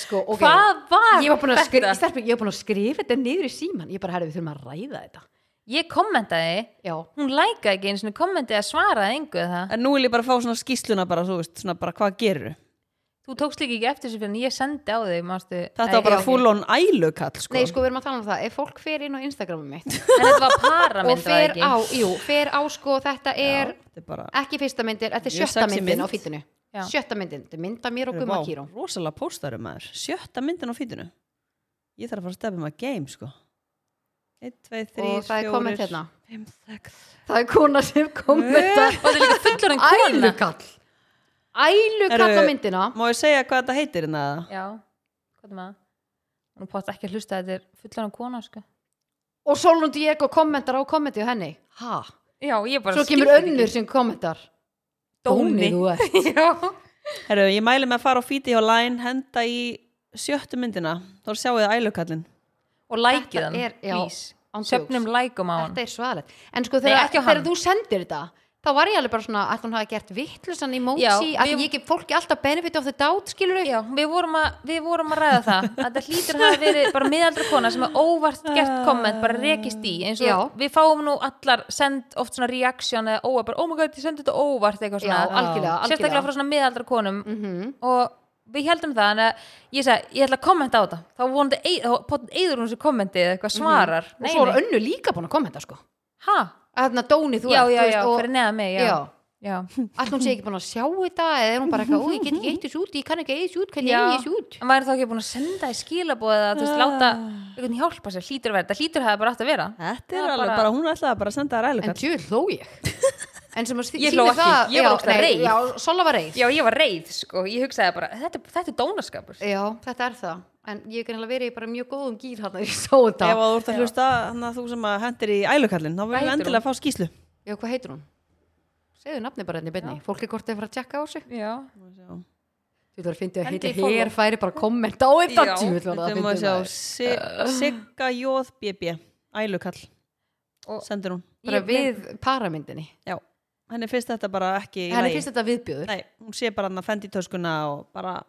Speaker 3: sko, ok
Speaker 1: hvað var
Speaker 3: Ég var búin að
Speaker 1: þetta?
Speaker 3: skrifa, stelpur, ég var búin að skrifa þetta niður í síman Ég bara, herri, við þurfum að ræða þetta Sko.
Speaker 1: ég kommentaði,
Speaker 3: Já,
Speaker 1: hún lækaði ekki eins og kommentaði að svaraði engu það
Speaker 2: En nú vil ég bara fá svona skýsluna bara, þú veist, svona bara hvað gerir þú?
Speaker 1: þú tókst líka ekki eftir þessu fyrir en ég sendi á þau mástu,
Speaker 2: Þetta var
Speaker 3: Nei,
Speaker 2: bara
Speaker 3: Eh, já.
Speaker 2: full on ælu kall sko.
Speaker 3: Nei, sko, við erum að tala um það Ef fólk fer inn á Instagramum mitt
Speaker 1: en þetta var paramynd
Speaker 3: og fer á, jú, fer á sko þetta er
Speaker 2: Þetta er bara
Speaker 3: ekki fyrsta myndir, þetta er
Speaker 2: Mjög
Speaker 3: sjötta
Speaker 2: sexy
Speaker 3: myndin
Speaker 2: mynd.
Speaker 3: á fítinu
Speaker 1: Já.
Speaker 3: sjötta myndin, þetta er mynd af mér og Gumma
Speaker 2: Vá,
Speaker 3: Kíró
Speaker 2: rosalega póstarum maður sjötta myndin á fýtinu ég þarf að fara að stefa maður game sko 1, 2, 3,
Speaker 3: og það er komment hérna
Speaker 2: Fimm, sex.
Speaker 3: það er kona sem kom með
Speaker 1: og þetta er líka fullorinn kona
Speaker 3: ælukall ælukall á
Speaker 2: Herru,
Speaker 3: myndina
Speaker 2: Má ég segja hvað þetta heitir hérna?
Speaker 1: já, hvað er maður hún er pott ekki að hlusta að þetta er fullorinn kona sko.
Speaker 3: og Solon Diego kommentar á kommenti á henni ha?
Speaker 1: já, ég bara
Speaker 3: svo kemur
Speaker 1: skil
Speaker 3: önnur sem kommentar
Speaker 1: Dóni.
Speaker 3: Dóni þú ert
Speaker 1: já,
Speaker 2: Herru, ég mæli með að fara á fíti hjá Line, henda í sjöttu myndina. Þá sjáu þið ælukallin.
Speaker 1: og lækið
Speaker 3: Þetta
Speaker 1: hann,
Speaker 3: er- já,
Speaker 1: please
Speaker 3: án djóks.
Speaker 1: söpnum lækum á hann
Speaker 3: þetta er svaðalegt en sko
Speaker 1: Nei,
Speaker 3: þegar,
Speaker 1: ekki á
Speaker 3: þegar
Speaker 1: hann.
Speaker 3: þú sendir þetta þá var ég alveg bara svona að hún hafi gert vittlusan emoji
Speaker 1: Já,
Speaker 3: að
Speaker 1: við-
Speaker 3: ég gef fólki alltaf benefit of the doubt skilur
Speaker 1: Já, við vorum, að, við vorum að ræða það að það hlýtur að hafa verið bara miðaldra kona sem er óvart gert komment bara rekist í eins og
Speaker 3: Já.
Speaker 1: við fáum nú allar send oft svona reaksjón eða óa bara, oh my god, ég sendi þetta óvart eitthvað
Speaker 3: Já,
Speaker 1: svona
Speaker 3: algjörlega,
Speaker 1: sérstaklega
Speaker 3: algjörlega.
Speaker 1: frá svona miðaldra konum
Speaker 3: Mhm.
Speaker 1: og við heldum það en að ég sagði, ég ætla að kommenta á það þá vonandi, ei- þá potið eiður hún sér kommenti eða eitthvað svarar
Speaker 3: Mhm. og svo var önnu líka búin að kommenta sko
Speaker 1: ha?
Speaker 3: að þarna Dóni þú
Speaker 1: já,
Speaker 3: ert
Speaker 1: já,
Speaker 3: þú
Speaker 1: já,
Speaker 3: og,
Speaker 1: fyrir neða mig, já,
Speaker 3: já.
Speaker 1: já.
Speaker 3: að hún sé ekki búin að sjá þetta eða er hún bara eitthvað, ó ég get ekki eitt þessu út ég kann ekki eitt þessu út, hvernig
Speaker 1: Já.
Speaker 3: eigi þessu út Ah.
Speaker 1: en maður er þá ekki búin að senda í skilabóð eða þú veist, láta einhvern hjálpa sér, hlýtur að vera, þetta hlýtur að það bara átt að vera
Speaker 2: Þetta
Speaker 1: Það er
Speaker 2: er alveg
Speaker 1: bara-
Speaker 2: bara, hún ætlaði bara að senda þær
Speaker 3: en
Speaker 2: ælukall.
Speaker 3: tjú hló ég en sem að sí-
Speaker 1: Ég
Speaker 3: sýnir
Speaker 1: hló ekki,
Speaker 3: það-
Speaker 1: ég var
Speaker 3: já,
Speaker 1: ógeðslega
Speaker 3: nei,
Speaker 1: reið.
Speaker 3: já, Solla var reið
Speaker 1: Já, ég var reið, sko, ég hugsaði bara þetta, þetta er dónaskapur
Speaker 3: já, þetta er það, en ég er kannilega verið í bara mjög góðum gýr hann að ég sá þetta
Speaker 2: Ef að þú ert að hlusta, hann að þú sem að hendir í ælukallin, þá verður
Speaker 1: heitir
Speaker 2: við endilega að fá skýslu.
Speaker 3: já, hvað heitir hún? segðu nafni bara henni benni, fólk er hvort að fara að tjekka á sig
Speaker 1: Já,
Speaker 3: þú þarf að finna að
Speaker 1: Hendi
Speaker 3: heita
Speaker 1: í follow.
Speaker 3: hér færi bara komment á þetta
Speaker 1: Já,
Speaker 3: tjú hló
Speaker 2: Þetta er maður að sjá Si- Sigga Jóð BB, ælukall.
Speaker 1: Og-
Speaker 2: Sendir hún.
Speaker 3: bara
Speaker 1: Ég-
Speaker 3: við paramyndinni
Speaker 2: Já, henni finnst þetta bara ekki í
Speaker 3: henni
Speaker 2: lagi.
Speaker 3: finnst þetta viðbjöður
Speaker 2: Nei, hún sé bara hann að fendi töskuna og bara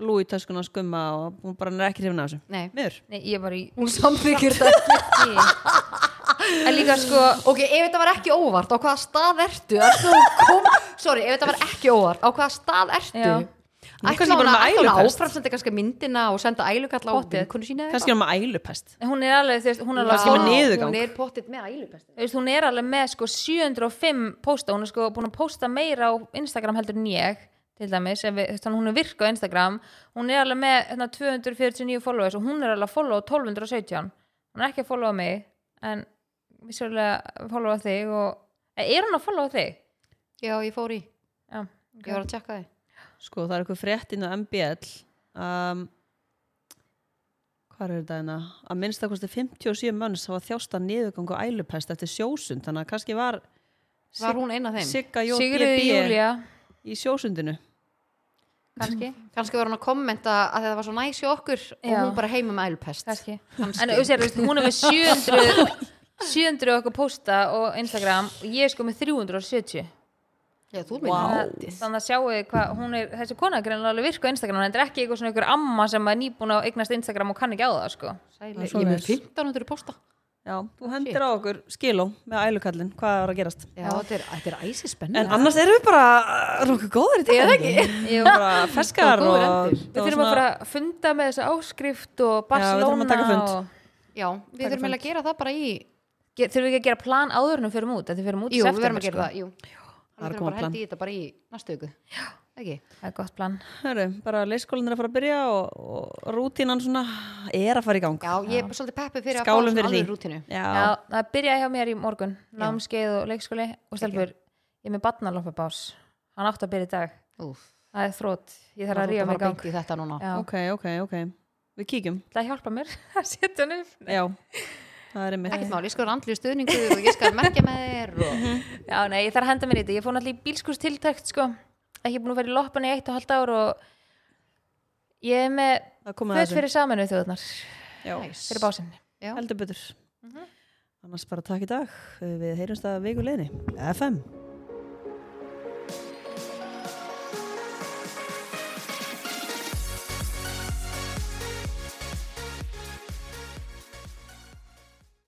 Speaker 2: lúi töskuna og skumma og hún bara hann er ekki hrifin af þessu.
Speaker 3: Nei.
Speaker 2: Miður.
Speaker 1: nei, ég var í
Speaker 3: hún samþykir þetta
Speaker 1: En líka, sko
Speaker 3: Ok, ef þetta var ekki óvart, á hvaða stað ertu? Ert þú kom... Sorry, ef þetta var ekki óvart, á hvaða stað ertu?
Speaker 1: Já.
Speaker 2: Hún er
Speaker 3: Ætla
Speaker 2: kannski
Speaker 3: hún
Speaker 2: bara
Speaker 3: að
Speaker 2: með
Speaker 3: ætla hún að
Speaker 2: ælupest.
Speaker 3: áfram senda kannski myndina og senda ælukalla á
Speaker 1: Pottið.
Speaker 3: vinkunni sína eða
Speaker 2: Kannski er hann með ælupest.
Speaker 1: hún er alveg, þú veist, hún er
Speaker 3: eitthvað?
Speaker 1: alveg
Speaker 2: Kannski með
Speaker 1: Já.
Speaker 2: niðurgang.
Speaker 3: Hún er pottitt með ælupest
Speaker 1: Þú veist, hún er alveg með sko 705 pósta, hún er sko búin að pósta meira á Instagram heldur en ég til dæmis, ef við, þú veist, þannig hún er virk á Instagram hún er alveg með hérna, 249 followers og hún er alveg að followa 1217 hún er ekki að followa mig en vissulega að followa þig og, Eh, er hún að followa þig?
Speaker 3: Já, ég fór í,
Speaker 1: Já,
Speaker 3: ég var að tjekka þið
Speaker 2: Sko, það er eitthvað fréttin á MBL. Um, hvað er þetta hérna? Að minnst að 57 mönns hafa þjásta niðurgang og ælupest eftir sjósund. Þannig að kannski var
Speaker 3: Var hún eina þeim?
Speaker 2: Sigga Jóð
Speaker 1: Sigriði
Speaker 2: BB
Speaker 1: Júlia
Speaker 2: í sjósundinu.
Speaker 1: kannski,
Speaker 3: Kannski var hún að kommenta að það var svo næs í okkur og
Speaker 1: Já.
Speaker 3: hún bara heima með ælupest
Speaker 1: kannski.
Speaker 3: Kannski.
Speaker 1: en þú sér, þú veist, hún er með 700 700 okkur posta og Instagram og ég er sko með 370
Speaker 3: Já, þú minn
Speaker 2: Vá.
Speaker 1: þannig að- þannig að sjáu þið hvað hún er þessi kona er greinlega alveg virku á Instagram þetta er ekki eitthvað svona ykkur amma sem er nýbúin að eignast Instagram og kann ekki á það sko
Speaker 2: Það er
Speaker 3: Sæli, ég er með
Speaker 2: svoleiðis.
Speaker 3: 1500 posta
Speaker 2: Já, þú hendir á okkur skiló með ælukallin, hvað er að gerast?
Speaker 3: Já, þetta er, þetta er æsi
Speaker 2: En
Speaker 3: spennandi
Speaker 2: annars erum við bara uh, nokkuð góðir í dag. Ég ekki.
Speaker 1: Jú,
Speaker 2: Bara feskar
Speaker 3: Og góðir
Speaker 2: og...
Speaker 3: endir.
Speaker 1: við þurfum að fara að funda með þessa áskrift og
Speaker 2: Já, við þurfum
Speaker 1: Barcelona
Speaker 2: að taka fund.
Speaker 1: og
Speaker 3: Já, við þurfum eiginlega að gera það bara í
Speaker 1: Ge- þurfum við ekki að gera plan áður en við förum út að þið förum út í
Speaker 3: Jú, við
Speaker 1: september,
Speaker 3: verðum að gera
Speaker 1: sko.
Speaker 3: það, jú
Speaker 2: það er
Speaker 3: Við
Speaker 2: að
Speaker 3: þurfum
Speaker 2: koma
Speaker 3: bara að
Speaker 2: plan.
Speaker 3: hendi í þetta bara í næstu viku Ekki?
Speaker 1: það er gott plan
Speaker 2: Hörru, bara leikskólan er að fara að byrja og, og rútínan svona er að fara í gang.
Speaker 3: Já, ég er bara svolítið peppi fyrir
Speaker 2: Skálum
Speaker 3: að fá
Speaker 2: fyrir
Speaker 3: svona
Speaker 2: því.
Speaker 3: alveg rútinu
Speaker 2: Já.
Speaker 1: Já, það byrjaði hjá mér í morgun námskeið og leikskóli og stelpur ég er með barnaloppabás hann átt að byrja í dag,
Speaker 3: Úf,
Speaker 1: það er þrótt ég þarf
Speaker 3: það
Speaker 1: að
Speaker 3: er
Speaker 1: ríða
Speaker 3: að
Speaker 1: mig í gang
Speaker 3: beint í þetta núna
Speaker 1: Já,
Speaker 2: Ok, ok, ok. Við kíkjum.
Speaker 1: það hjálpa mér að setja hann upp
Speaker 2: Já, það er einmitt.
Speaker 3: Ekkert mál, ég skal andlu stuðningu og ég skal merkja með þér og...
Speaker 1: Já, nei, ég þarf að henda mér í þetta, ég fór náttúrulega í bílskurstiltækt sko, ekki búin að vera í loppan í eitt og halvt ár og ég er með
Speaker 2: Það komið að
Speaker 1: föt
Speaker 2: þessu.
Speaker 1: fyrir saminu þjóðnar
Speaker 2: Já,
Speaker 1: fyrir básinni
Speaker 3: Já.
Speaker 2: heldur betur. Annars bara takk í dag. Við heyrumst að viku leiðinni. FM.